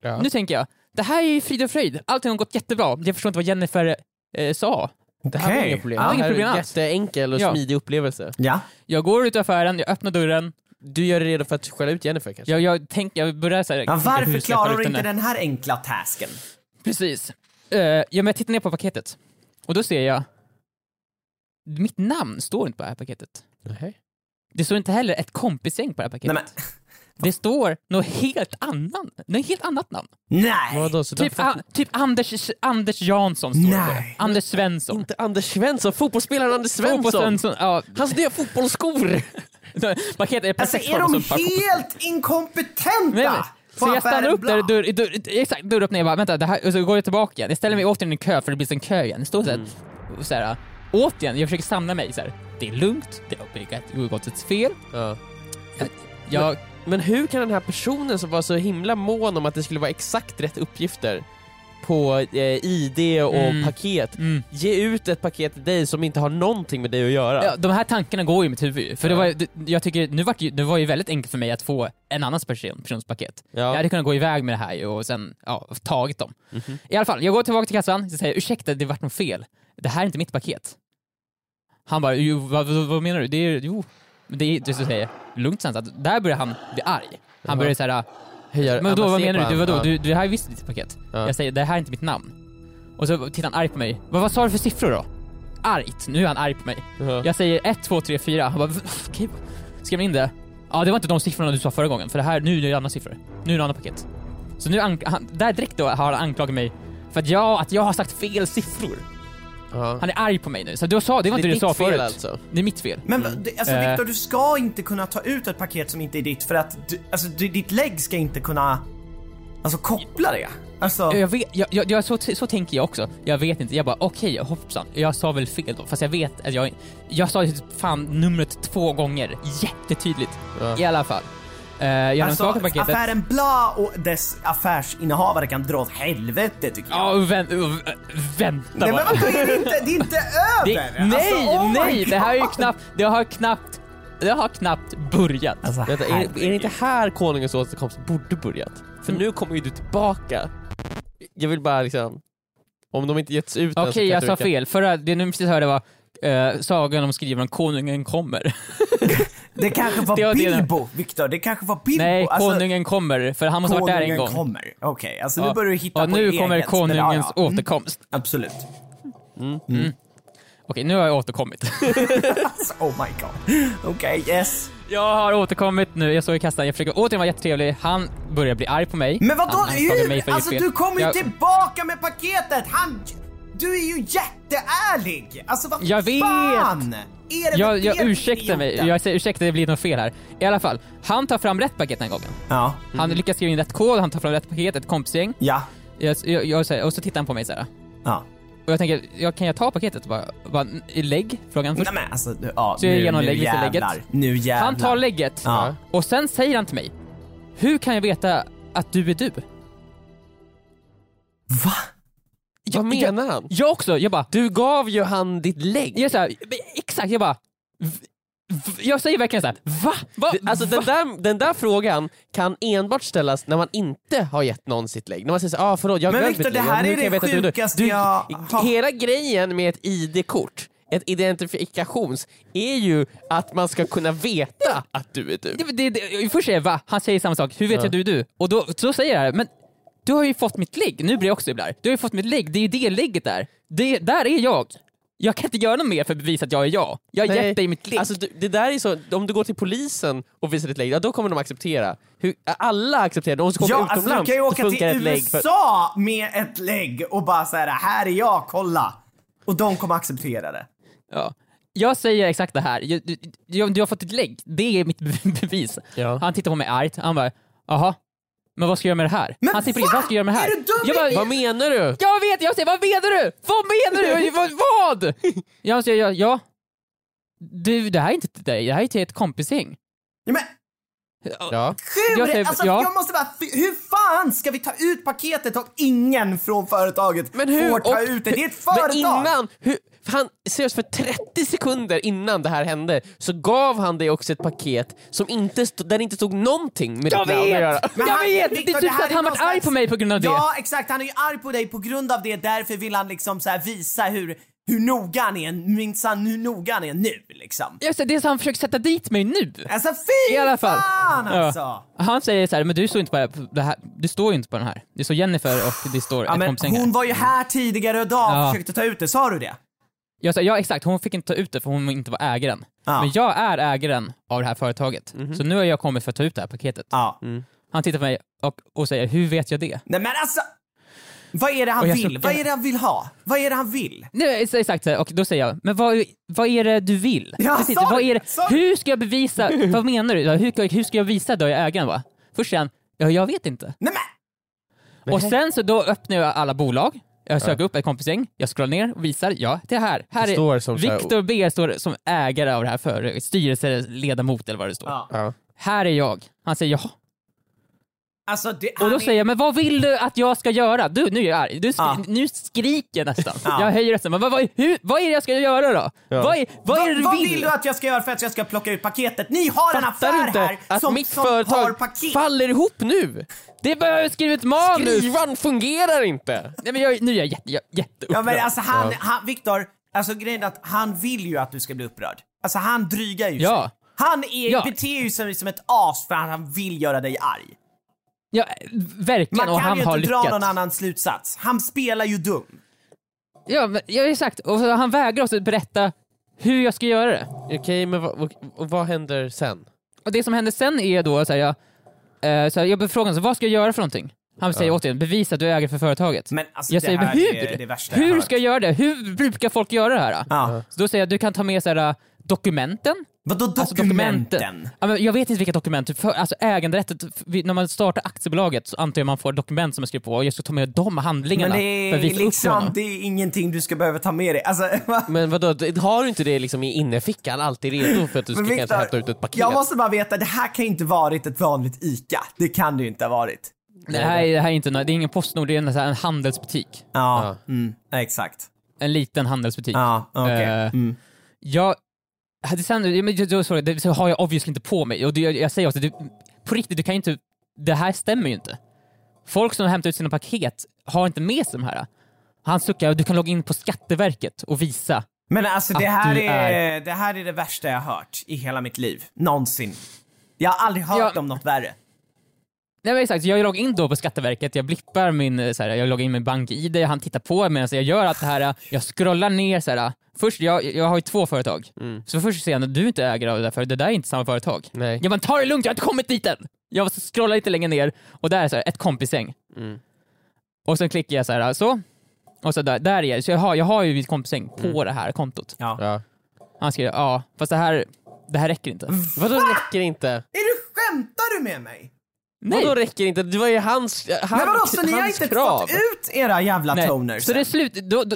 Speaker 2: Ja.
Speaker 3: Nu tänker jag, det här är ju frid och fröjd, allting har gått jättebra. Jag förstår inte vad Jennifer eh, sa.
Speaker 2: Det här var
Speaker 4: Okej.
Speaker 2: inga problem.
Speaker 3: Ja,
Speaker 2: det
Speaker 3: inga
Speaker 2: här är
Speaker 3: problem
Speaker 2: en
Speaker 3: alls.
Speaker 2: jätteenkel och
Speaker 3: Ja.
Speaker 2: smidig upplevelse.
Speaker 4: Ja.
Speaker 3: Jag går ut ur affären, jag öppnar dörren,
Speaker 2: Du gör dig redo för att skälla ut Jennifer kanske?
Speaker 3: jag, jag, tänker, jag börjar så här,
Speaker 4: Ja,
Speaker 3: tänka, hur
Speaker 4: varför
Speaker 3: ska jag
Speaker 4: klarar
Speaker 3: få
Speaker 4: du
Speaker 3: ut
Speaker 4: inte
Speaker 3: här?
Speaker 4: den här enkla tasken?
Speaker 3: Precis. Eh, ja, men jag tittar ner på paketet och då ser jag, mitt namn står inte på det här paketet.
Speaker 2: Nej.
Speaker 3: Det står inte heller ett kompisgäng på det här paketet.
Speaker 4: Nej, men,
Speaker 3: Det står något helt, annan, något helt annat namn.
Speaker 4: Nej!
Speaker 2: Vadå, så
Speaker 3: Typ,
Speaker 2: därför-
Speaker 3: a, typ Anders, Anders Jansson står
Speaker 4: Nej.
Speaker 3: det. Anders Svensson.
Speaker 2: ah, Inte Anders Svensson, fotbollsspelaren Anders
Speaker 3: Fotboll
Speaker 2: Svensson.
Speaker 3: Svensson. Ja.
Speaker 2: Hans nya fotbollsskor.
Speaker 3: Paket är
Speaker 4: Alltså
Speaker 3: perfekt
Speaker 4: är de
Speaker 3: som par-
Speaker 4: helt
Speaker 3: Nej, nej.
Speaker 4: inkompetenta?
Speaker 3: Så jag stannar upp där i
Speaker 4: Affären Blanc.
Speaker 3: dörr, i dörr, i- exakt, dörröppningen och bara vänta, det här, och så går jag tillbaka igen. Jag ställer mig återigen i en kö för det blir en kö igen. Det står såhär, mm. så här, återigen, jag försöker samla mig såhär, det är lugnt, det har begått- begått ett fel.
Speaker 2: Ja.
Speaker 3: Jag,
Speaker 2: Men hur kan den här personen som var så himla mån om att det skulle vara exakt rätt uppgifter på eh, ID och
Speaker 3: Mm.
Speaker 2: paket,
Speaker 3: mm.
Speaker 2: ge ut ett paket till dig som inte har någonting med dig att göra?
Speaker 3: ja, de här tankarna går ju i mitt huvud ju. för det
Speaker 2: Ja.
Speaker 3: var, ju- det, jag tycker, nu var det, ju- det var ju väldigt enkelt för mig att få en annans person, persons paket.
Speaker 2: Ja.
Speaker 3: Jag hade kunnat gå iväg med det här ju och sen ja, tagit dem.
Speaker 2: Mhm.
Speaker 3: I alla fall, jag går tillbaka till kassan och säger ursäkta, det vart något fel. Det här är inte mitt paket. Han bara, jo, vad, vad, vad menar du? Det är, jo. Men det är, det är så att säga, lugnt sen, så att där börjar han bli arg. Han börjar såhär,
Speaker 2: Höjer
Speaker 3: men då,
Speaker 2: Anna
Speaker 3: vad
Speaker 2: ser
Speaker 3: menar
Speaker 2: på
Speaker 3: du? du? Vadå?
Speaker 2: han.
Speaker 3: Du, du, det här är visst ditt paket.
Speaker 2: Ja.
Speaker 3: Jag säger, det här är inte mitt namn. Och så tittar han arg på mig. Vad, vad sa du för siffror då? Argt. Nu är han arg på mig.
Speaker 2: Ja.
Speaker 3: Jag säger 1, 2, 3, 4. Han bara, "Va? okej. Skrev ni in det? Ja, det var inte de siffrorna du sa förra gången. För det här, nu är det andra siffror. Nu är det andra paket. Så nu, ank- han, där direkt då har han anklagat mig för att jag, att jag har sagt fel siffror.
Speaker 2: Ja.
Speaker 3: Han är arg på mig nu. Så du sa, det var inte det du
Speaker 2: ditt
Speaker 3: sa
Speaker 2: fel
Speaker 3: förut.
Speaker 2: alltså.
Speaker 3: Det är mitt fel.
Speaker 4: Men va- det- alltså
Speaker 3: Eh.
Speaker 4: Viktor, du ska inte kunna ta ut ett paket som inte är ditt för att du, alltså, du, ditt lägg ska inte kunna alltså, koppla det. Alltså,
Speaker 3: Jag vet, jag, jag, jag, så, så tänker jag också. Jag vet inte, jag bara okej hoppsan, jag sa väl fel då. Fast jag vet att jag, jag sa ju fan numret två gånger, jättetydligt. I alla fall. Eh, jag
Speaker 4: alltså
Speaker 3: alltså, paketet.
Speaker 4: affären Bla och dess affärsinnehavare kan dra åt helvete tycker jag.
Speaker 3: Ja, och vän, och, vänta
Speaker 4: Nej men
Speaker 3: bara.
Speaker 4: vadå, är det, inte, det är inte
Speaker 3: Det,
Speaker 4: över!
Speaker 3: nej,
Speaker 4: Alltså, oh my
Speaker 3: nej! Det här är ju
Speaker 4: God.
Speaker 3: knappt, det har knappt, det har knappt börjat.
Speaker 4: Alltså,
Speaker 2: Vänta, är, är det inte här konungens återkomst borde börjat? För
Speaker 3: Mm.
Speaker 2: nu kommer ju du tillbaka. Jag vill bara liksom... Om de inte getts ut än så
Speaker 3: Okej, jag
Speaker 2: alltså, kanske
Speaker 3: sa
Speaker 2: vi kan-
Speaker 3: fel. Förra, det nu precis hörde var eh, sagan om skriven om konungen kommer.
Speaker 4: Det kanske var
Speaker 3: Det var det.
Speaker 4: Bilbo, Viktor. Det kanske var Bilbo.
Speaker 3: Nej,
Speaker 4: Alltså,
Speaker 3: konungen kommer, för han måste ha varit där en gång.
Speaker 4: konungen kommer. Okej, alltså
Speaker 3: Ja.
Speaker 4: nu börjar du hitta
Speaker 3: Ja,
Speaker 4: på
Speaker 3: nu
Speaker 4: eget.
Speaker 3: kommer
Speaker 4: men ja,
Speaker 3: konungens
Speaker 4: ja. Mm,
Speaker 3: återkomst.
Speaker 4: absolut.
Speaker 3: Okej, nu har jag återkommit.
Speaker 4: Alltså, oh my god. Okej, yes.
Speaker 3: jag har återkommit nu, jag står i kassan, jag försöker återigen vara jättetrevlig. Han börjar bli arg på mig.
Speaker 4: Men vadå,
Speaker 3: Han anklagar mig
Speaker 4: hur?
Speaker 3: för att
Speaker 4: Alltså
Speaker 3: göra fel.
Speaker 4: du kommer ju
Speaker 3: jag,
Speaker 4: tillbaka med paketet! Han... Du är ju jätteärlig! Alltså vad
Speaker 3: Jag vet.
Speaker 4: fan! Är det
Speaker 3: Jag,
Speaker 4: med
Speaker 3: jag
Speaker 4: det,
Speaker 3: ursäktar mig,
Speaker 4: idioten?
Speaker 3: jag säger ursäkta det blir något fel här. I alla fall, han tar fram rätt paket den här gången.
Speaker 4: Ja,
Speaker 3: Han lyckas skriva in rätt kod, han tar fram rätt paket, ett kompisgäng.
Speaker 4: ja,
Speaker 3: Jag, jag, jag, säger- och så tittar han på mig såhär.
Speaker 4: ja.
Speaker 3: Och jag tänker, jag, kan jag ta paketet? Och Bara, bara, lägg? Frågan först.
Speaker 4: Nej men alltså, du- ja,
Speaker 3: Så jag
Speaker 4: nu,
Speaker 3: genomlägger
Speaker 4: nu
Speaker 3: lite lägget.
Speaker 4: jävlar. Nu jävlar.
Speaker 3: Han tar lägget
Speaker 4: Ja.
Speaker 3: och sen säger han till mig, hur kan jag veta att du är du?
Speaker 4: Va?
Speaker 2: Vad menar han?
Speaker 3: Jag också, jag bara,
Speaker 2: Du gav ju han ditt lägg.
Speaker 3: jag är så här, exakt, jag bara, v, v, jag säger verkligen så här, va? va?
Speaker 2: Det- Alltså den där, den där frågan kan enbart ställas när man inte har gett någon sitt lägg. När man säger såhär, ah, förlåt jag
Speaker 4: Men
Speaker 2: glömde
Speaker 4: Victor,
Speaker 2: mitt
Speaker 4: det
Speaker 2: lägg.
Speaker 4: här
Speaker 2: Och hur
Speaker 4: är
Speaker 2: kan jag
Speaker 4: det
Speaker 2: veta att du är du?"
Speaker 4: sjukaste
Speaker 2: du,
Speaker 4: jag har-
Speaker 2: Hela grejen med ett ID-kort, ett identifikations, är ju att man ska kunna veta att du är du.
Speaker 3: Det, det, det, först säger jag va, han säger samma sak, hur vet jag att du är du? Och då så säger jag det här, men du har ju fått mitt lägg, nu blir jag också ibland Du har ju fått mitt lägg, det är ju det lägget där. Det, där är jag. Jag kan inte göra något mer för att bevisa att jag är jag. Jag har
Speaker 2: Nej,
Speaker 3: gett dig mitt lägg.
Speaker 2: Alltså, du- det där är så, om du går till polisen och visar ditt lägg, ja, då kommer de acceptera. Hur, alla accepterar det. Om du ska åka
Speaker 4: Ja, alltså du
Speaker 2: utomlands
Speaker 4: kan ju
Speaker 2: så
Speaker 4: åka till
Speaker 2: funkar ett lägg för-
Speaker 4: USA med ett lägg och bara säga här är jag, kolla. Och de kommer acceptera det.
Speaker 3: Ja. Jag säger exakt det här, jag, du, jag, du har fått ett lägg, det är mitt be- bevis.
Speaker 2: Ja.
Speaker 3: Han tittar på mig argt, han bara jaha, men vad ska jag göra med det här?
Speaker 4: Men
Speaker 3: han säger på
Speaker 4: va?
Speaker 3: riktigt, vad ska jag göra med det här?
Speaker 4: Är du dum
Speaker 3: jag, bara,
Speaker 4: i-
Speaker 2: Vad menar du?
Speaker 3: jag vet, jag säger vad menar du? Vad menar du? vad? vad? jag säger ja, ja. Du, det här är inte till dig, det här är till ett kompisgäng.
Speaker 4: Ja, men
Speaker 2: Ja.
Speaker 4: hur?
Speaker 3: Jag
Speaker 4: Jag,
Speaker 3: säger-
Speaker 4: alltså,
Speaker 3: ja.
Speaker 4: jag måste bara, hur fan ska vi ta ut paketet om ingen från företaget
Speaker 2: Men hur?
Speaker 4: får ta
Speaker 2: och-
Speaker 4: ut det? Det är ett företag!
Speaker 2: Men innan, hur, han, seriöst för 30 sekunder innan det här hände så gav han dig också ett paket som inte stod, där det inte stod någonting med ditt namn att göra.
Speaker 4: Men
Speaker 3: jag
Speaker 4: han-
Speaker 3: vet! Det
Speaker 4: Victor,
Speaker 3: är typ
Speaker 4: här
Speaker 3: så att han
Speaker 4: någon
Speaker 3: varit arg
Speaker 4: slags-
Speaker 3: på mig på grund av det.
Speaker 4: Ja, exakt. Han är ju arg på dig på grund av det. Därför vill han liksom så här visa hur, hur noga han är, minsann hur noga han är nu liksom.
Speaker 3: Jag säger, det är så han försöker sätta dit mig nu.
Speaker 4: Alltså fy
Speaker 3: I alla fall.
Speaker 4: fan alltså!
Speaker 3: Ja. Han säger så här, men du står inte på det här, du står ju inte på den här. Det står Jennifer och det står
Speaker 4: Ja,
Speaker 3: ett
Speaker 4: men
Speaker 3: kompisgäng här.
Speaker 4: hon var ju här tidigare idag och
Speaker 3: Ja.
Speaker 4: försökte ta ut det, sa du det?
Speaker 3: Jag sa, ja exakt, hon fick inte ta ut det för hon inte var ägaren.
Speaker 4: Ja.
Speaker 3: Men jag är ägaren av det här företaget. Så nu har jag kommit för att ta ut det här paketet.
Speaker 4: Ja.
Speaker 3: Han tittar på mig och, och säger, hur vet jag det?
Speaker 4: Nej men alltså! Vad är det han
Speaker 3: Och jag
Speaker 4: vill?
Speaker 3: suckar.
Speaker 4: Vad är det han vill ha? Vad är det han vill?
Speaker 3: Nej, ex- exakt så här. och då säger jag, men vad, vad är det du vill?
Speaker 4: Ja,
Speaker 3: Precis,
Speaker 4: sorry,
Speaker 3: vad är det,
Speaker 4: sorry.
Speaker 3: hur ska jag bevisa, vad menar du? Ja, Hur, ska- hur ska jag visa att jag är ägaren va? Först sen, ja jag vet inte.
Speaker 4: Nej men!
Speaker 3: Och sen så då öppnar jag alla bolag, jag söker upp ett kompisgäng, jag scrollar ner och visar, ja det här. här
Speaker 2: Det står som så här-
Speaker 3: Viktor B står som ägare av det här företaget, styrelseledamot eller vad det står.
Speaker 4: Ja.
Speaker 2: Ja.
Speaker 3: Här är jag. Han säger jaha.
Speaker 4: Alltså det,
Speaker 3: Och
Speaker 4: han
Speaker 3: då
Speaker 4: är-
Speaker 3: säger jag, men vad vill du att jag ska göra? Du, nu är jag arg. Du, sk-
Speaker 4: Ja.
Speaker 3: Nu skriker jag nästan.
Speaker 4: Ja.
Speaker 3: Jag höjer rösten. Men vad, vad, hur, vad är det jag ska göra då? Vad, är, vad är det du
Speaker 4: vad
Speaker 3: vill?
Speaker 4: vill du att jag ska göra för att jag ska plocka ut paketet? Ni har en
Speaker 2: Fattar du
Speaker 4: affär
Speaker 2: inte
Speaker 4: här
Speaker 2: att
Speaker 4: som,
Speaker 2: mitt
Speaker 4: som har
Speaker 2: företag
Speaker 4: paket!
Speaker 2: faller ihop nu?
Speaker 3: Det behöver skriva ett manus!
Speaker 2: Skrivan fungerar inte!
Speaker 3: Nej, men jag, nu är jag jätte, jag, jätteupprörd.
Speaker 4: Ja men alltså han, han Viktor, alltså grejen är att han vill ju att du ska bli upprörd. Alltså han drygar ju
Speaker 3: Ja.
Speaker 4: sig. Han är,
Speaker 3: Ja.
Speaker 4: beter ju sig som ett as för att han vill göra dig arg.
Speaker 3: ja, verkligen,
Speaker 4: Man
Speaker 3: och
Speaker 4: kan
Speaker 3: han
Speaker 4: ju
Speaker 3: har
Speaker 4: inte
Speaker 3: lyckats.
Speaker 4: dra någon annan slutsats. Han spelar ju dum.
Speaker 3: Ja, men, ja, exakt. Och så, han vägrar också berätta hur jag ska göra det.
Speaker 2: Okej, men vad, vad, vad händer sen?
Speaker 3: Och det som händer sen är då så här, jag, eh, så här, jag befrågar honom, så vad ska jag göra för någonting? Han säger återigen, bevisa att du äger för företaget.
Speaker 4: Men alltså
Speaker 3: jag
Speaker 4: det
Speaker 3: säger, men
Speaker 4: här
Speaker 3: hur?
Speaker 4: är det värsta jag
Speaker 3: hur
Speaker 4: hört.
Speaker 3: ska jag göra det? Hur brukar folk göra det här? då?
Speaker 4: Ja.
Speaker 3: Så då säger jag, du kan ta med så här, eh, dokumenten.
Speaker 4: Vadå
Speaker 3: Alltså
Speaker 4: dokumenten?
Speaker 3: Ja, men jag vet inte vilka dokument, för, alltså äganderättet, f- vi- när man startar aktiebolaget så antar jag man får dokument som är skrivna på och jag ska ta med de
Speaker 4: Men
Speaker 3: handlingarna
Speaker 4: det
Speaker 3: för
Speaker 4: är,
Speaker 3: att visa upp
Speaker 4: liksom,
Speaker 3: honom.
Speaker 4: det är ingenting du ska behöva ta med dig. Alltså, va?
Speaker 2: Men vadå, d- har du inte det liksom i innerfickan alltid redo för att du ska
Speaker 4: Men
Speaker 2: kanske
Speaker 4: Viktor,
Speaker 2: hämta ut ett paket?
Speaker 4: Jag måste bara veta, det här kan ju inte varit ett vanligt ICA. Det kan det ju inte ha varit.
Speaker 3: Det här, är- det här är inte nå- det är ingen Postnord, det är en, så här, en handelsbutik.
Speaker 4: Ja, Mm, exakt.
Speaker 3: En liten handelsbutik.
Speaker 4: Ja, okej.
Speaker 3: Eh,
Speaker 4: Mm.
Speaker 3: Jag hade sen, ja, men jag- jag såg det, det så har jag obviously inte på mig. Och det, jag, jag säger också, det, på riktigt, du kan ju inte, det här stämmer ju inte. Folk som hämtar ut sina paket har inte med sig de här. Han suckar, du kan logga in på Skatteverket och visa.
Speaker 4: Men alltså det
Speaker 3: Att
Speaker 4: här,
Speaker 3: du
Speaker 4: är, det här är det värsta jag har hört i hela mitt liv. Någonsin. Jag har aldrig hört
Speaker 3: Ja.
Speaker 4: om något värre.
Speaker 3: Nej men exakt, jag loggar in då på Skatteverket, jag blippar min, eh, så här, jag loggar in min bank-id, han tittar på medan jag gör allt det här, eh, jag scrollar ner så här. Först, jag, jag har ju två företag.
Speaker 4: Mm.
Speaker 3: Så först säger han att du inte äger av det där, för det där är inte samma företag.
Speaker 2: Nej.
Speaker 3: Ja men ta det lugnt, jag har inte kommit dit än! Jag scrollar lite längre ner och där är så här, ett kompisäng.
Speaker 4: Mm.
Speaker 3: Och sen klickar jag så här, så. Och så där, där är jag, så jag har, jag har ju mitt kompisäng på det här kontot.
Speaker 4: Mm. Ja.
Speaker 2: Ja.
Speaker 3: Han skriver, ja fast det här, det här räcker inte.
Speaker 2: Vadå räcker inte?
Speaker 4: Är du, skämtar du med mig?
Speaker 3: Nej!
Speaker 2: Vadå räcker inte? Det var ju hans, han,
Speaker 4: Nej vadå, så ni har
Speaker 2: hans
Speaker 4: inte
Speaker 2: krav.
Speaker 4: fått ut era jävla
Speaker 3: Nej.
Speaker 4: toners?
Speaker 3: Så det är slut. Då, då,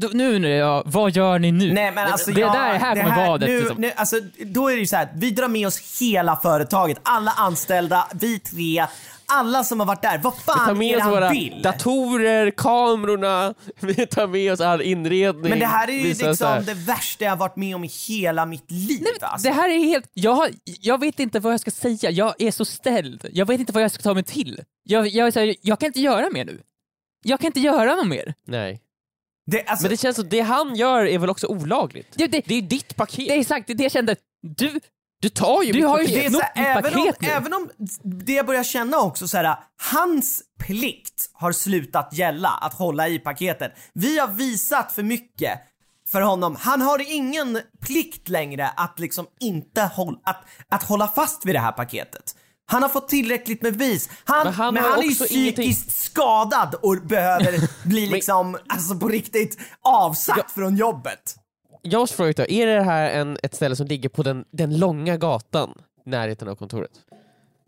Speaker 3: då, nu nu, ja, vad gör ni nu?
Speaker 4: Nej men alltså
Speaker 3: det
Speaker 4: jag,
Speaker 3: där här kommer vara det.
Speaker 4: nu,
Speaker 3: Liksom.
Speaker 4: nu, alltså, Då är det ju så här, vi drar med oss hela företaget, alla anställda, vi tre, alla som har varit där. Vad
Speaker 2: Vi tar
Speaker 4: fan
Speaker 2: med
Speaker 4: är det
Speaker 2: oss
Speaker 4: han
Speaker 2: våra
Speaker 4: vill?
Speaker 2: datorer, kamerorna, vi tar med oss all inredning.
Speaker 4: Men det här är ju
Speaker 2: Visar så här.
Speaker 4: liksom det värsta jag har varit med om i hela mitt liv. alltså.
Speaker 3: Det här är helt... Jag, har, jag vet inte vad jag ska säga. Jag är så ställd. Jag vet inte vad jag ska ta mig till. Jag, jag, är så här, jag kan inte göra mer nu. Jag kan inte göra något mer.
Speaker 2: Nej.
Speaker 4: Det- alltså,
Speaker 2: Men det känns som det han gör är väl också olagligt?
Speaker 3: Det, det,
Speaker 2: Det är ditt paket.
Speaker 3: det är exakt det jag kände. Du,
Speaker 2: Du tar ju
Speaker 3: Du
Speaker 2: mitt
Speaker 3: har ju
Speaker 2: paket.
Speaker 4: Det är så här,
Speaker 3: Något nytt
Speaker 4: även, om,
Speaker 3: paket nu.
Speaker 4: även om det jag börjar känna också så här, hans plikt har slutat gälla att hålla i paketen. Vi har visat för mycket för honom. Han har ingen plikt längre att liksom inte hålla, att, att hålla fast vid det här paketet. Han har fått tillräckligt med bevis. Han, men
Speaker 2: Men
Speaker 4: han,
Speaker 2: han har
Speaker 4: är ju
Speaker 2: också
Speaker 4: psykiskt
Speaker 2: ingenting-
Speaker 4: skadad och behöver bli liksom, alltså på riktigt, avsatt från jobbet.
Speaker 2: Jag måste fråga, Viktor, är det här en, ett ställe som ligger på den, den långa gatan i närheten av kontoret?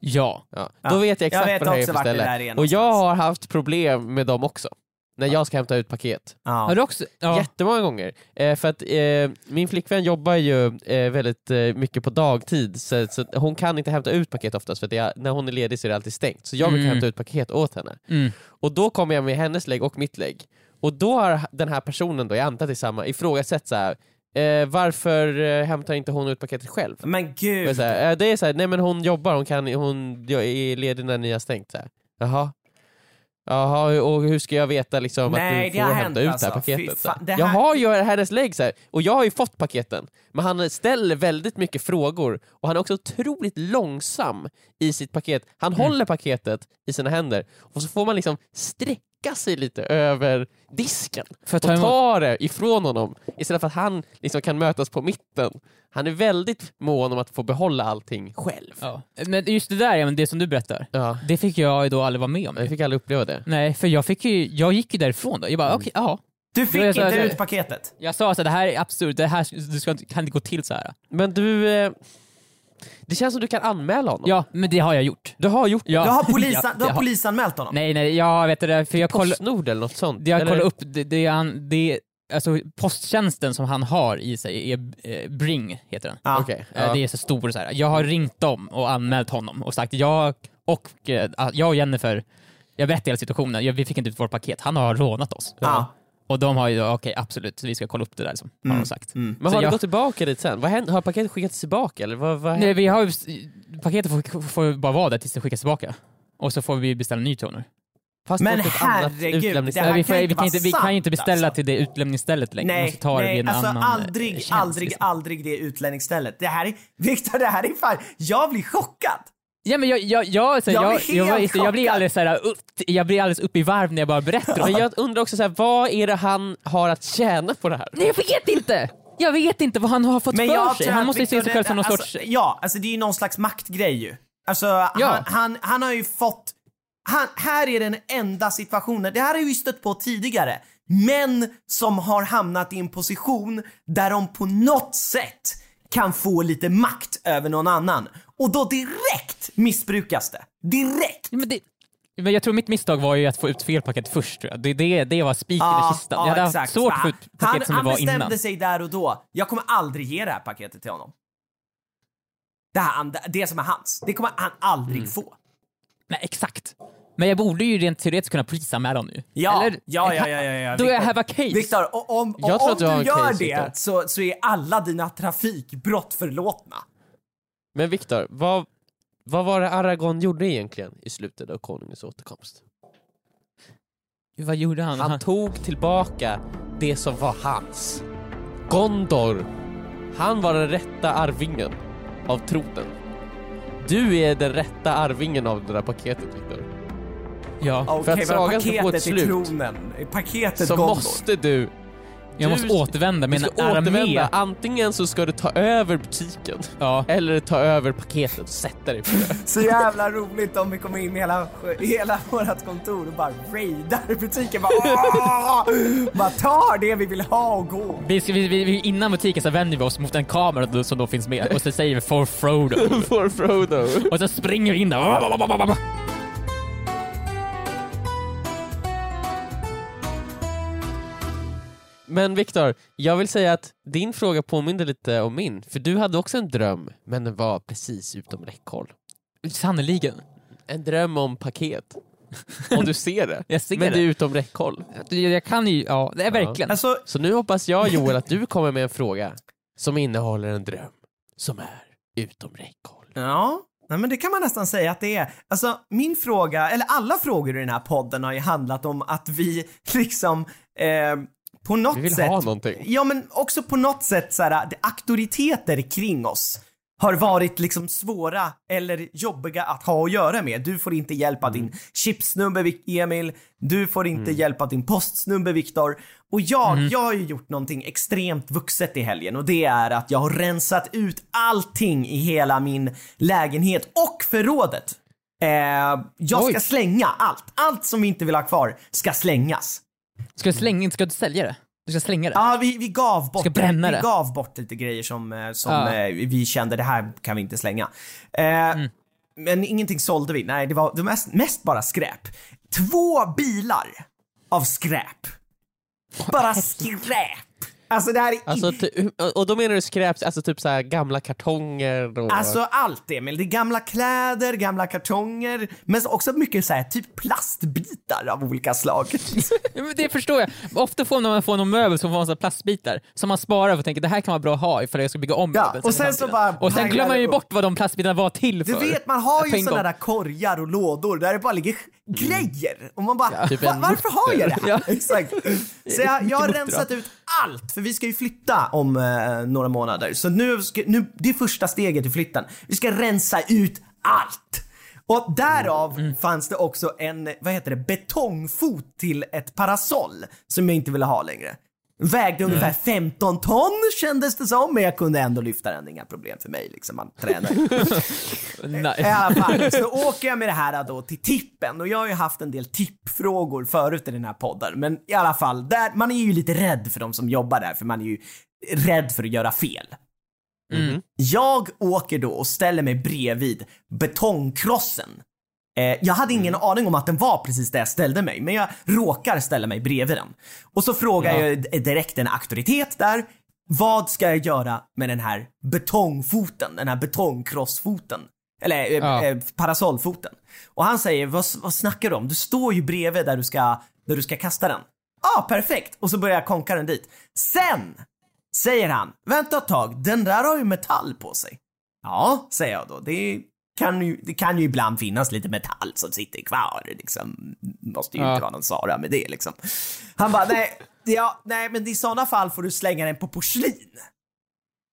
Speaker 3: ja.
Speaker 2: Ja. Då vet jag exakt
Speaker 4: vet
Speaker 2: vad det här är
Speaker 4: också
Speaker 2: för
Speaker 4: vart det där är
Speaker 2: ställe. Och
Speaker 4: någonstans.
Speaker 2: jag har haft problem med dem också. När jag ska hämta ut paket.
Speaker 3: Har
Speaker 4: Ja.
Speaker 3: du också... Ja.
Speaker 2: Jättemånga gånger. Eh, för att eh, min flickvän jobbar ju eh, väldigt eh, mycket på dagtid så, så att hon kan inte hämta ut paket oftast för att det är, när hon är ledig så är det alltid stängt. Så jag brukar
Speaker 3: Mm.
Speaker 2: hämta ut paket åt henne.
Speaker 3: Mm.
Speaker 2: Och då kommer jag med hennes lägg och mitt lägg. Och då har den här personen då, jag antar att det är samma, ifrågasatt så här. Eh, varför eh, hämtar inte hon ut paketet själv?
Speaker 4: Men
Speaker 2: Och
Speaker 4: gud.
Speaker 2: Så här, eh, det är såhär, nej men hon jobbar, hon, kan, hon jag är ledig när ni har stängt. Så här. Jaha. Jaha, och hur ska jag veta liksom
Speaker 4: Nej,
Speaker 2: att
Speaker 4: det
Speaker 2: du
Speaker 4: har
Speaker 2: får
Speaker 4: hänt,
Speaker 2: hämta ut
Speaker 4: alltså.
Speaker 2: det här paketet?
Speaker 4: Fy fan,
Speaker 2: så
Speaker 4: det
Speaker 2: här.
Speaker 4: här-
Speaker 2: Jag har ju hennes lägg så här, och jag har ju fått paketen. Men han ställer väldigt mycket frågor och han är också otroligt
Speaker 4: Mm.
Speaker 2: långsam i sitt paket. Han håller paketet i sina händer och så får man liksom sträcka sträcka sig lite över disken
Speaker 3: För att
Speaker 2: och
Speaker 3: ta emot-
Speaker 2: ta det ifrån honom istället för att han liksom kan mötas på mitten. Han är väldigt mån om att få behålla allting själv.
Speaker 3: Ja. Men just det där, ja, men det som du berättar,
Speaker 2: Ja.
Speaker 3: det fick jag ju då aldrig vara med om.
Speaker 2: Jag fick aldrig uppleva det.
Speaker 3: Nej, för jag, fick ju, jag gick ju därifrån då. Jag bara, okej, ja.
Speaker 4: Du fick
Speaker 3: är jag så
Speaker 4: inte
Speaker 3: här-
Speaker 4: ut paketet.
Speaker 3: Jag sa så här, det här är absurt, det här du ska, inte- kan inte gå till så här.
Speaker 2: Men du, eh, det känns som du kan anmäla honom.
Speaker 3: Ja, men det har jag gjort.
Speaker 2: Du har gjort
Speaker 3: Ja.
Speaker 4: Du har, polisan,
Speaker 3: Ja,
Speaker 4: du har
Speaker 3: jag
Speaker 4: polisanmält honom?
Speaker 3: Nej, nej, jag vet det, för jag kollade
Speaker 2: Postnord eller något sånt?
Speaker 3: jag
Speaker 2: eller?
Speaker 3: kollade upp, det, det, är han, det, alltså posttjänsten som han har i sig är eh, Bring, heter den.
Speaker 4: Ja.
Speaker 2: Okej,
Speaker 3: Eh,
Speaker 2: ja.
Speaker 3: Det är så stor så här. Jag har ringt dem och anmält honom och sagt jag och, eh, jag och Jennifer, jag berättade hela situationen, jag, vi fick inte ut vårt paket, han har rånat oss.
Speaker 4: Ja. Mm.
Speaker 3: Och de har ju, då, okej absolut, vi ska kolla upp det där, liksom, har de sagt.
Speaker 2: Men
Speaker 3: Så
Speaker 2: har du
Speaker 3: jag-
Speaker 2: gått tillbaka dit sen? Vad händer? Har paketet skickats tillbaka eller? Vad, vad
Speaker 3: Nej, vi har ju, paketet får, får ju bara vara där tills det skickas tillbaka. Och så får vi beställa en ny toner.
Speaker 2: Fast
Speaker 4: Men
Speaker 2: åt ett annat
Speaker 4: herregud,
Speaker 2: utlämningsställe.
Speaker 4: Det här
Speaker 3: Nej, vi,
Speaker 4: kan ju
Speaker 3: vi,
Speaker 4: inte
Speaker 3: kan
Speaker 4: vara
Speaker 3: inte, vi kan ju inte
Speaker 4: sant,
Speaker 3: beställa
Speaker 4: alltså.
Speaker 3: till det utlämningsstället längre. vi
Speaker 4: Nej,
Speaker 3: måste ta det
Speaker 4: nej
Speaker 3: vid en
Speaker 4: alltså
Speaker 3: annan eh,
Speaker 4: aldrig,
Speaker 3: tjänst,
Speaker 4: aldrig,
Speaker 3: liksom.
Speaker 4: aldrig det utlänningsstället. Det här är, Viktor det här är fan, jag blir chockad.
Speaker 3: Ja men jag, jag, jag, så,
Speaker 4: Jag
Speaker 3: jag,
Speaker 4: blir
Speaker 3: jag, jag,
Speaker 4: helt
Speaker 3: var inte- jag blir
Speaker 4: chockad.
Speaker 3: alldeles så här, upp, jag blir alldeles uppe i varv när jag bara berättar om
Speaker 2: Men
Speaker 3: det.
Speaker 2: jag undrar också, så här, vad är det han har att tjäna på det här?
Speaker 3: Nej jag vet inte! Jag vet inte vad han har fått för sig.
Speaker 4: tror
Speaker 3: Han
Speaker 4: att
Speaker 3: måste ju se
Speaker 4: Victor
Speaker 3: sig själv som någon
Speaker 4: Lundell-
Speaker 3: sorts...
Speaker 4: alltså, Ja, alltså det är ju någon slags maktgrej ju. Alltså han, han, han har ju fått... Han, här är den enda situationen, det här har vi ju stött på tidigare. Män som har hamnat i en position där de på något sätt kan få lite makt över någon annan. Och då direkt missbrukas det. Direkt!
Speaker 3: Ja, Men, det, men jag tror mitt misstag var ju att få ut fel paket först tror jag. Det, det, det var spiken i kistan. jag hade haft svårt att få
Speaker 4: han,
Speaker 3: ut
Speaker 4: han,
Speaker 3: paket som
Speaker 4: han
Speaker 3: det var
Speaker 4: bestämde
Speaker 3: innan.
Speaker 4: sig där och då. Jag kommer aldrig ge det här paketet till honom. Det, här, andra- det som är hans, det kommer han aldrig
Speaker 2: Mm.
Speaker 4: få.
Speaker 3: Nej exakt. Men jag borde ju rent teoretiskt kunna polisanmäla honom nu.
Speaker 4: Ja,
Speaker 3: Eller?
Speaker 4: ja, ja, ja, ja, ja.
Speaker 3: Do I
Speaker 4: Victor.
Speaker 3: have a case?
Speaker 4: Viktor, om, om,
Speaker 2: Jag tror
Speaker 4: om
Speaker 2: att
Speaker 4: du
Speaker 2: du har en
Speaker 4: gör
Speaker 2: case, Victor.
Speaker 4: det så, så är alla dina trafikbrott förlåtna.
Speaker 2: Men Viktor, vad, vad var det Aragorn gjorde egentligen i slutet av Konungens återkomst?
Speaker 3: Vad gjorde han?
Speaker 2: Han tog tillbaka det som var hans. Gondor. Han var den rätta arvingen av tronen. Du är den rätta arvingen av det där paketet Viktor.
Speaker 3: ja.
Speaker 2: För att
Speaker 4: Okej, men
Speaker 2: sagan ska få ett
Speaker 4: paketet i
Speaker 2: slut.
Speaker 4: tronen, paketet
Speaker 2: Så
Speaker 4: Gondor.
Speaker 2: måste du
Speaker 3: Jag måste
Speaker 2: du-
Speaker 3: återvända
Speaker 2: Du
Speaker 3: med
Speaker 2: ska
Speaker 3: en armé.
Speaker 2: återvända. Antingen så ska du ta över butiken
Speaker 3: Ja.
Speaker 2: eller ta över paketet och sätta dig på det.
Speaker 4: Så jävla roligt om vi kommer in i hela, hela vårt kontor och bara raidar butiken. Bara, "Åh!" bara tar det vi vill ha och går.
Speaker 3: Vi, ska- vi, vi, vi, innan butiken så vänder vi oss mot en kamera då- som då finns med och så säger vi For Frodo.
Speaker 2: For Frodo.
Speaker 3: Och så springer vi in där.
Speaker 2: Men Viktor, jag vill säga att din fråga påminner lite om min, för du hade också en dröm, men den var precis utom räckhåll.
Speaker 3: Sannerligen.
Speaker 2: En dröm om paket. Och du ser det.
Speaker 3: Jag ser
Speaker 2: men
Speaker 3: det.
Speaker 2: är utom räckhåll.
Speaker 3: Jag, jag kan ju, ja, det är verkligen.
Speaker 4: Alltså,
Speaker 2: Så nu hoppas jag Joel att du kommer med en fråga som innehåller en dröm som är utom räckhåll.
Speaker 4: Ja, nej, men det kan man nästan säga att det är. Alltså min fråga, eller alla frågor i den här podden har ju handlat om att vi liksom eh, på något
Speaker 2: Vi vill
Speaker 4: sätt...
Speaker 2: ha någonting.
Speaker 4: Ja men också på något sätt så här, det- auktoriteter kring oss har varit liksom svåra eller jobbiga att ha att göra med. Du får inte hjälpa din chipsnubbe Vic- Emil, du får inte hjälpa din postsnubbe Viktor. Och jag, jag har ju gjort någonting extremt vuxet i helgen och det är att jag har rensat ut allting i hela min lägenhet och förrådet. Eh, jag ska
Speaker 2: Oj.
Speaker 4: slänga allt. Allt som vi inte vill ha kvar ska slängas.
Speaker 3: Ska du slänga, ska du sälja det? Du ska slänga det?
Speaker 4: Ja, vi, vi gav bort,
Speaker 3: Ska bränna
Speaker 4: vi
Speaker 3: det.
Speaker 4: gav bort lite grejer som, eh, som
Speaker 3: Ja. Mm.
Speaker 4: eh, vi kände, det här kan vi inte slänga. Eh, Men ingenting sålde vi, nej det var det var mest, mest bara skräp. Två bilar av skräp. Bara skräp. Alltså det här är...
Speaker 2: Alltså,
Speaker 3: Mm.
Speaker 2: ty- och då menar du skräp, alltså typ så här gamla kartonger och...
Speaker 4: Alltså allt Emil, det är gamla kläder, gamla kartonger, men också mycket så här typ plastbitar av olika slag.
Speaker 3: Ja, men det förstår jag. Ofta får man, när man får någon möbel så får man så här plastbitar som man sparar för att tänka det här kan vara bra att ha ifall jag ska bygga om
Speaker 4: Ja,
Speaker 3: möbeln
Speaker 4: och sen
Speaker 3: i
Speaker 4: så
Speaker 3: framtiden."
Speaker 4: bara
Speaker 3: och sen glömmer man ju
Speaker 4: pangar det
Speaker 3: bort vad de plastbitarna var till för.
Speaker 4: Du vet, man har
Speaker 3: På
Speaker 4: ju
Speaker 3: en
Speaker 4: sådana
Speaker 3: gång. Mm.
Speaker 4: där korgar och lådor där det bara ligger grejer. Och man bara,
Speaker 2: Typ
Speaker 4: "Va-
Speaker 2: en
Speaker 4: varför har jag det här?
Speaker 3: Ja.
Speaker 4: Exakt. Så jag, jag har
Speaker 3: Mycket muttrar.
Speaker 4: rensat ut allt, för vi ska ju flytta om eh, några månader. Så nu, ska, nu, det är första steget i flytten. Vi ska rensa ut allt. Och därav
Speaker 3: Mm.
Speaker 4: fanns det också en, vad heter det, betongfot till ett parasoll som jag inte ville ha längre. Vägde ungefär 15 ton kändes det som, men jag kunde ändå lyfta den, inga problem för mig liksom, man tränar ju. I
Speaker 3: Nej.
Speaker 4: alla fall, så åker jag med det här då till tippen och jag har ju haft en del tippfrågor förut i den här podden. Men i alla fall, där, man är ju lite rädd för de som jobbar där för man är ju rädd för att göra fel.
Speaker 3: Mm.
Speaker 4: Jag åker då och ställer mig bredvid betongkrossen. Eh, jag hade ingen
Speaker 3: Mm.
Speaker 4: aning om att den var precis där jag ställde mig, men jag råkar ställa mig bredvid den. Och så frågar
Speaker 3: Ja.
Speaker 4: jag d- direkt en auktoritet där. Vad ska jag göra med den här betongfoten, den här betongkrossfoten? Eller eh,
Speaker 3: Ja.
Speaker 4: eh, parasollfoten. Och han säger, vad, vad snackar du om? Du står ju bredvid där du ska, där du ska kasta den. Ja, ah, perfekt! Och så börjar jag konka den dit. Sen säger han, vänta ett tag, den där har ju metall på sig. Ja, säger jag då. Det kan ju, det kan ju ibland finnas lite metall som sitter kvar. Liksom. Måste ju
Speaker 3: Ja.
Speaker 4: inte vara någon Sara med det liksom. Han bara, nej, ja, nej, men i sådana fall får du slänga den på porslin.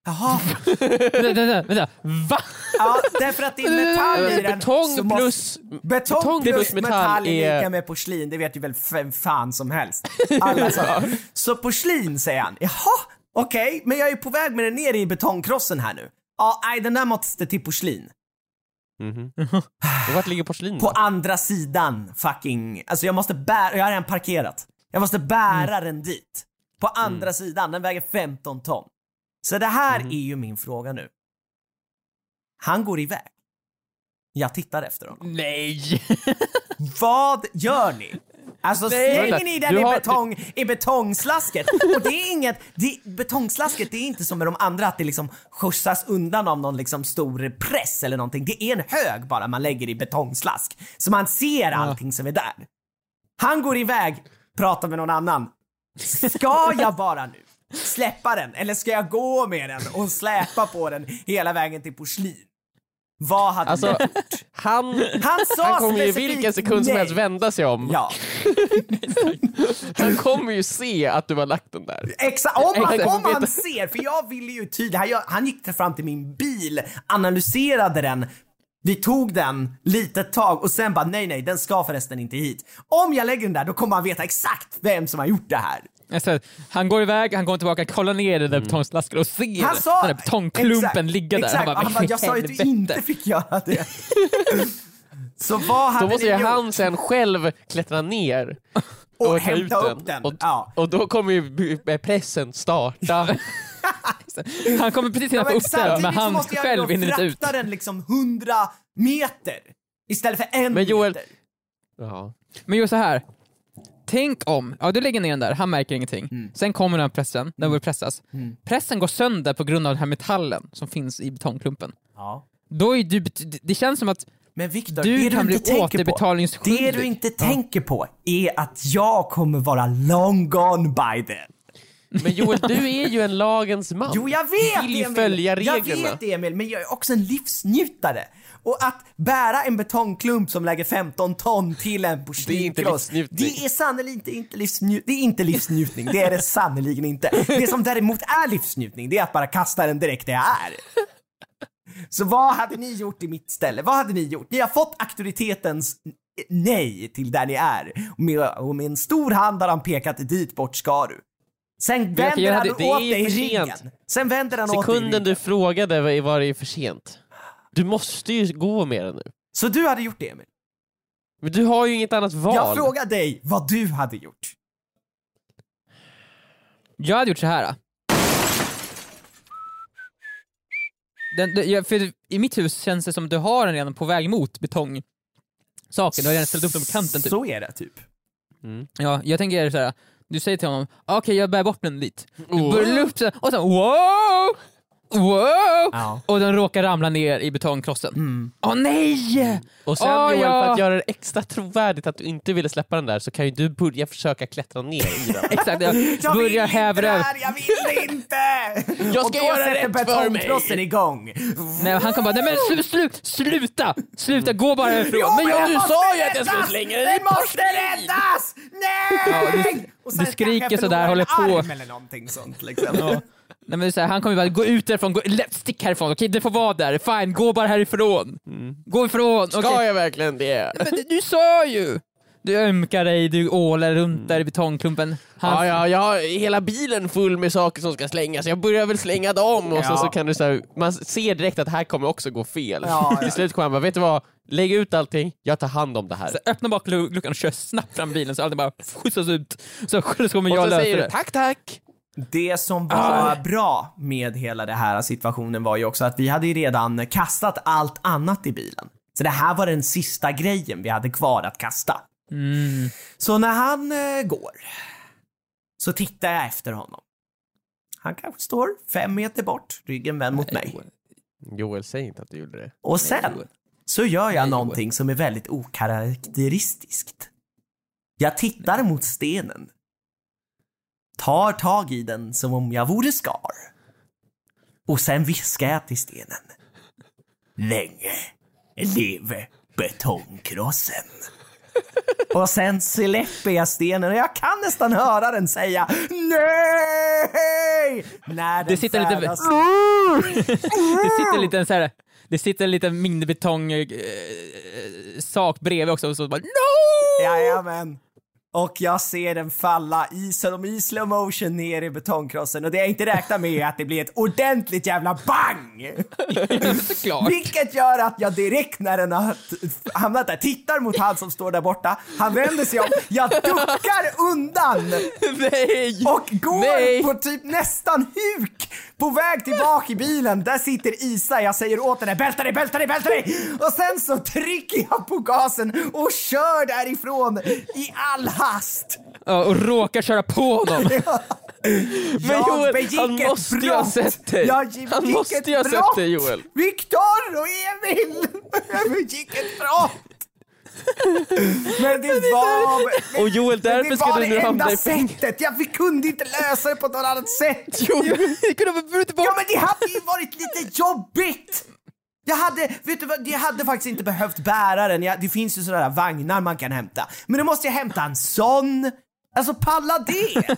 Speaker 4: Jaha,
Speaker 3: Vänta, vänta, vänta. Va?
Speaker 4: ja, därför att det är metall i den. så
Speaker 3: Betong
Speaker 4: måste-
Speaker 3: plus...
Speaker 4: Betong,
Speaker 3: Betong
Speaker 4: plus,
Speaker 3: plus
Speaker 4: metall,
Speaker 3: metall
Speaker 4: är
Speaker 3: är-
Speaker 4: lika med porslin, det vet ju väl vem fan som helst. Alla sa. Så porslin säger han. Jaha, okej, men jag är på väg med den ner i betongkrossen här nu. Ja, nej den där måste till porslin.
Speaker 2: Mhm. Och vart ligger porslinet?
Speaker 4: På andra sidan fucking, alltså jag måste bära, jag har redan parkerat. Jag måste bära den dit. På andra sidan, den väger 15 ton. Så det här är ju min fråga nu. Han går iväg. Jag tittar efter honom.
Speaker 3: Nej!
Speaker 4: Vad gör ni? Alltså slänger
Speaker 3: Vänta,
Speaker 4: ni den
Speaker 3: du
Speaker 4: i,
Speaker 3: har-
Speaker 4: betong, i betongslaskret? Och det är inget, det, betongslaskret det är inte som med de andra att det liksom skjutsas undan av någon liksom stor press eller någonting. Det är en hög bara man lägger i betongslask. Så man ser allting som är där. Han går iväg, pratar med någon annan. Ska jag bara nu släppa den eller ska jag gå med den och släpa på den hela vägen till porslin? Vad hade ni
Speaker 2: Alltså, han,
Speaker 4: Han sa
Speaker 2: han kommer ju i
Speaker 4: specifikt
Speaker 2: vilken sekund som
Speaker 4: nej.
Speaker 2: helst vända sig om.
Speaker 4: Ja.
Speaker 2: Han kommer ju se att du har lagt den där.
Speaker 4: Exa om, han,
Speaker 2: Exakt,
Speaker 4: om
Speaker 2: vet
Speaker 4: han
Speaker 2: du.
Speaker 4: ser, för jag ville ju tydligt, han, jag- han gick till- fram till min bil, analyserade den, vi tog den litet tag och sen bara nej nej den ska förresten inte hit. Om jag lägger den där då kommer han veta exakt vem som har gjort det här.
Speaker 3: Alltså, han går iväg, han kommer tillbaka, kollar ner i den där betongslaskret och ser
Speaker 4: Han sa...
Speaker 3: den där betongklumpen
Speaker 4: exakt,
Speaker 3: ligga där.
Speaker 4: Exakt, han bara,
Speaker 3: "Men
Speaker 4: jag sa ju att du
Speaker 3: helvete."
Speaker 4: inte fick göra det. Så vad hade
Speaker 2: Då måste
Speaker 4: ni
Speaker 2: ju
Speaker 4: gjort?
Speaker 2: han sen själv klättra ner
Speaker 4: Och
Speaker 2: ta ut
Speaker 4: hämta upp den,
Speaker 2: Och,
Speaker 4: ja.
Speaker 2: och då kommer ju b- pressen starta.
Speaker 3: Han kommer precis hinna
Speaker 4: Ja,
Speaker 3: få
Speaker 4: men
Speaker 3: upp den, men
Speaker 4: samtidigt så
Speaker 3: han
Speaker 4: måste jag
Speaker 3: själv
Speaker 4: då
Speaker 3: hinner inte ut.
Speaker 4: frakta den liksom 100 meter istället för en
Speaker 2: Men Joel-
Speaker 4: meter.
Speaker 2: Ja.
Speaker 3: Men just så här. Tänk om, ja du lägger ner den där, han märker ingenting. Sen kommer den här pressen, den börjar pressas. Pressen går sönder på grund av den här metallen som finns i betongklumpen.
Speaker 4: Ja.
Speaker 3: Då är du, bet- det känns som att
Speaker 4: Men Viktor,
Speaker 3: Du
Speaker 4: det du
Speaker 3: kan bli
Speaker 4: inte tänker på,
Speaker 3: återbetalningsskyldig.
Speaker 4: det du inte tänker på är att jag kommer vara long gone by then.
Speaker 2: Men Joel, du är ju en lagens man.
Speaker 4: Jo, jag vet
Speaker 2: Du vill ju
Speaker 4: Emil!
Speaker 2: följa
Speaker 4: jag
Speaker 2: reglerna.
Speaker 4: vet det Emil, men jag är också en livsnjutare. Och att bära en betongklump som lägger 15 ton till en porslinkross,
Speaker 2: livsnjutning.
Speaker 4: det är sannolikt inte livsnjutning. Det är inte livsnjutning, det är det sannerligen inte. Det som däremot är livsnjutning, det är att bara kasta den direkt där jag är. Så vad hade ni gjort i mitt ställe? Vad hade ni gjort? Ni har fått auktoritetens nej till där ni är. Och med, och med en stor hand har han pekat dit bort ska du. Sen
Speaker 2: jag
Speaker 4: vänder
Speaker 2: göra
Speaker 4: han
Speaker 2: det. Det är
Speaker 4: åt
Speaker 2: ju
Speaker 4: dig i
Speaker 2: för
Speaker 4: ryggen.
Speaker 2: sent.
Speaker 4: Sen vänder han åt dig i
Speaker 2: Sekunden
Speaker 4: ryggen.
Speaker 2: du frågade var- var det ju för sent. Du måste ju gå med den nu.
Speaker 4: Så du hade gjort det Emil?
Speaker 2: Men du har ju inget annat val.
Speaker 4: Jag frågar dig vad du hade gjort.
Speaker 3: jag hade gjort så här. Den, den, jag- för I mitt hus känns det som du har den redan på väg mot betong. Saken, du har redan ställt upp den på kanten typ.
Speaker 4: Så är det typ.
Speaker 3: Ja, jag tänker såhär, du säger till honom "Ah, okej jag bär bort den dit. Du
Speaker 2: Oh.
Speaker 3: börjar lyfta den och sen wow! Wow!
Speaker 4: Ja.
Speaker 3: Och den råkar ramla ner i betongkrossen. Åh nej!
Speaker 2: Och sen
Speaker 3: Åh,
Speaker 2: Joel,
Speaker 3: ja.
Speaker 2: för att göra det extra trovärdigt att du inte ville släppa den där så kan ju du börja försöka klättra ner i den.
Speaker 3: Exakt, jag
Speaker 4: Jag vill
Speaker 3: börjar
Speaker 4: inte
Speaker 3: häva
Speaker 4: det
Speaker 3: över.
Speaker 4: här, jag vill inte!
Speaker 2: Jag
Speaker 4: Och
Speaker 2: ska
Speaker 4: då
Speaker 2: göra
Speaker 4: sätter
Speaker 2: rätt för
Speaker 4: betongkrossen
Speaker 2: mig.
Speaker 4: igång.
Speaker 3: Nej, han kommer bara, nej men slu, slu, sluta! Sluta, gå bara härifrån.
Speaker 4: Jo,
Speaker 3: men jag,
Speaker 4: jag
Speaker 3: du
Speaker 4: måste
Speaker 3: sa ju att jag
Speaker 4: räddas!
Speaker 3: skulle slänga den
Speaker 4: Vi
Speaker 3: i
Speaker 4: måste
Speaker 3: porslin!
Speaker 4: räddas! Nej!
Speaker 3: Ja, du-
Speaker 4: Och sen
Speaker 3: du skriker
Speaker 4: kanske jag
Speaker 3: sådär,
Speaker 4: förlorar
Speaker 3: håller
Speaker 4: en
Speaker 3: på.
Speaker 4: arm eller någonting sånt liksom.
Speaker 3: Ja. Nej, men det är så här, han kommer bara, gå ut därifrån, gå, lä- stick härifrån, okej det får vara där, fine, gå bara härifrån. Gå ifrån.
Speaker 2: Ska
Speaker 3: okej.
Speaker 2: jag verkligen det?
Speaker 3: Men det- du sa ju! Du ömkar dig, du ålar runt där i betongklumpen. Han,
Speaker 2: Ja, ja, jag har hela bilen full med saker som ska slängas, jag börjar väl slänga dem och sen
Speaker 4: Ja.
Speaker 2: så kan du så här, man ser direkt att här kommer också gå fel.
Speaker 4: Ja,
Speaker 2: Till
Speaker 4: ja.
Speaker 2: slut kommer han bara, vet du vad? Lägg ut allting, jag tar hand om det här.
Speaker 3: så öppnar bakluckan och kör snabbt fram bilen så allting bara skjutsas ut. Så, så kommer
Speaker 2: och
Speaker 3: jag
Speaker 2: så
Speaker 3: lösa
Speaker 2: säger du
Speaker 3: det.
Speaker 2: tack, tack!
Speaker 4: Det som var bra med hela den här situationen var ju också att vi hade ju redan kastat allt annat i bilen. Så det här var den sista grejen vi hade kvar att kasta.
Speaker 3: Mm.
Speaker 4: Så när han eh, går så tittar jag efter honom. Han kanske står fem meter bort, ryggen vänd mot mig.
Speaker 2: Joel, säg inte att du gjorde det.
Speaker 4: Och sen så gör jag någonting som är väldigt okaraktäristiskt. Jag tittar mot stenen. Tar tag i den som om jag vore Scar. Och sen viskar jag till stenen. Länge leve betongkrossen. Och sen släpper jag stenen och jag kan nästan höra den säga NEJ! När den
Speaker 3: Det sitter lite-
Speaker 4: färdas-
Speaker 3: Det sitter en liten så här, det sitter en liten minibetong eh, sak bredvid också och så bara NO!
Speaker 4: Jajamän. Och jag ser den falla i, som i slow motion ner i betongkrossen och det jag inte räknar med är att det blir ett ordentligt jävla bang!
Speaker 3: Såklart.
Speaker 4: Vilket gör att jag direkt när den har t- hamnat där tittar mot han som står där borta, han vänder sig om, jag duckar undan
Speaker 3: Nej!
Speaker 4: och går
Speaker 3: Nej.
Speaker 4: på typ nästan huk på väg tillbaka i bilen. Där sitter Isa. Jag säger åt henne bälta dig, bälta dig, bälta dig! Och sen så trycker jag på gasen och kör därifrån i all hast.
Speaker 3: Ja, och råkar köra på honom.
Speaker 4: jag
Speaker 2: Joel,
Speaker 4: begick
Speaker 2: han
Speaker 4: ett
Speaker 2: måste ju
Speaker 4: brott.
Speaker 2: ha sett dig.
Speaker 4: Jag
Speaker 2: Han
Speaker 4: begick
Speaker 2: måste
Speaker 4: ett
Speaker 2: ju ha sett
Speaker 4: brott.
Speaker 2: dig, Joel.
Speaker 4: Viktor och Emil! Jag begick ett brott! Men det var... men-
Speaker 2: Och Joel,
Speaker 4: men
Speaker 2: därför ska
Speaker 4: var
Speaker 2: du
Speaker 4: det
Speaker 2: nu
Speaker 4: enda
Speaker 2: hamna i fängelse.
Speaker 4: sättet. Jag fick- kunde inte lösa det på något annat sätt.
Speaker 3: Vi kunde ha burit bort
Speaker 4: Ja men det hade ju varit lite jobbigt! Jag hade, vet du vad, jag hade faktiskt inte behövt bära den. Jag, det finns ju sådana där vagnar man kan hämta. Men då måste jag hämta en sån! Alltså palla det!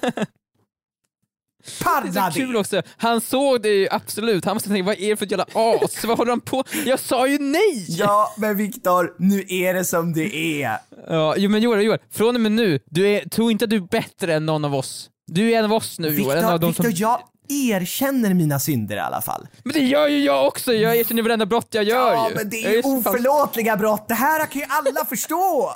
Speaker 3: Det
Speaker 4: Palla
Speaker 3: är så kul
Speaker 4: det!
Speaker 3: också, han såg det ju absolut, han måste tänka vad är det för ett jävla as, vad håller han på Jag sa ju nej!
Speaker 4: Ja, men Viktor, nu är det som det är.
Speaker 3: Ja, jo men Joel, Joel, från och med nu, du är, tro inte att du är bättre än någon av oss. Du är en av oss nu Joel, en av
Speaker 4: Viktor,
Speaker 3: de
Speaker 4: Viktor,
Speaker 3: som...
Speaker 4: jag erkänner mina synder i alla fall.
Speaker 3: Men det gör ju jag också, jag erkänner varenda brott jag gör
Speaker 4: Ja,
Speaker 3: ju.
Speaker 4: men det
Speaker 3: Jag
Speaker 4: är ju
Speaker 3: så fan-
Speaker 4: oförlåtliga brott. Det här kan ju alla förstå.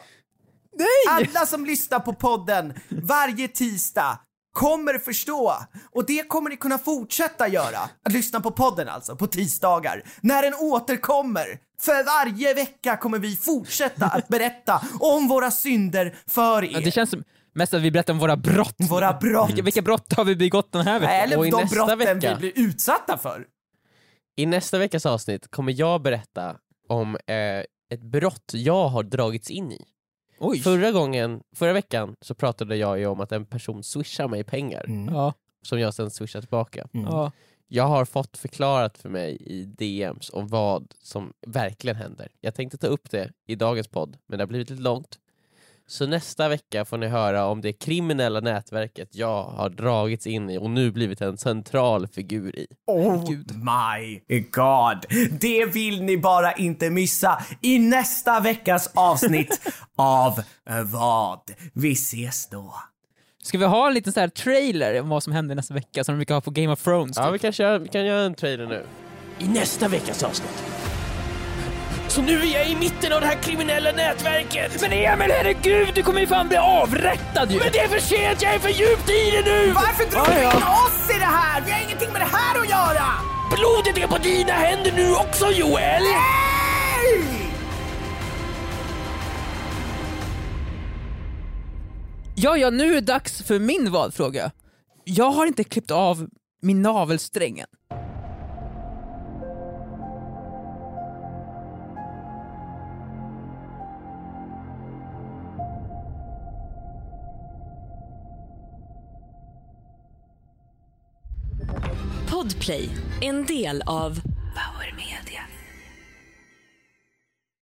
Speaker 4: Nej! Alla som lyssnar på podden varje tisdag kommer förstå. Och det kommer ni kunna fortsätta göra. Att lyssna på podden alltså, på tisdagar. När den återkommer. För varje vecka kommer vi fortsätta att berätta om våra synder för
Speaker 3: Ja, Det
Speaker 4: er.
Speaker 3: känns som mest att vi berättar om våra brott.
Speaker 4: Våra brott.
Speaker 3: Vilka, vilka brott har vi begått den här veckan?
Speaker 4: Eller
Speaker 2: och i
Speaker 4: de
Speaker 2: nästa
Speaker 4: brotten
Speaker 2: vecka.
Speaker 4: vi blir utsatta för.
Speaker 2: I nästa veckas avsnitt kommer jag berätta om eh, ett brott jag har dragits in i.
Speaker 3: Oj.
Speaker 2: Förra gången, förra veckan så pratade jag ju om att en person swishar mig pengar
Speaker 3: Ja,
Speaker 2: som jag sen swishar tillbaka.
Speaker 3: ja.
Speaker 2: Jag har fått förklarat för mig i DMs om vad som verkligen händer. Jag tänkte ta upp det i dagens podd, men det har blivit lite långt. Så nästa vecka får ni höra om det kriminella nätverket jag har dragits in i och nu blivit en central figur i.
Speaker 4: Oh my god. Det vill ni bara inte missa i nästa veckas avsnitt av eh, vad? Vi ses då.
Speaker 3: Ska vi ha en liten så här trailer om vad som händer nästa vecka som de brukar ha på Game of Thrones?
Speaker 2: Ja,
Speaker 3: typ?
Speaker 2: vi kan, köra, vi kan göra en trailer nu. I nästa veckas avsnitt. Så nu är jag i mitten av det här kriminella nätverket! Men Emil, herregud, du kommer ju fan bli avrättad ju! Men det är för sent, jag är för djupt i det nu!
Speaker 4: Varför drog du in oss i det här? Vi har ingenting med det här att göra!
Speaker 2: Blodet är på dina händer nu också, Joel!
Speaker 4: Nej!
Speaker 3: Ja, ja, nu är det dags för min valfråga. Jag har inte klippt av min navelsträng än.
Speaker 1: Podplay, en del av Power Media.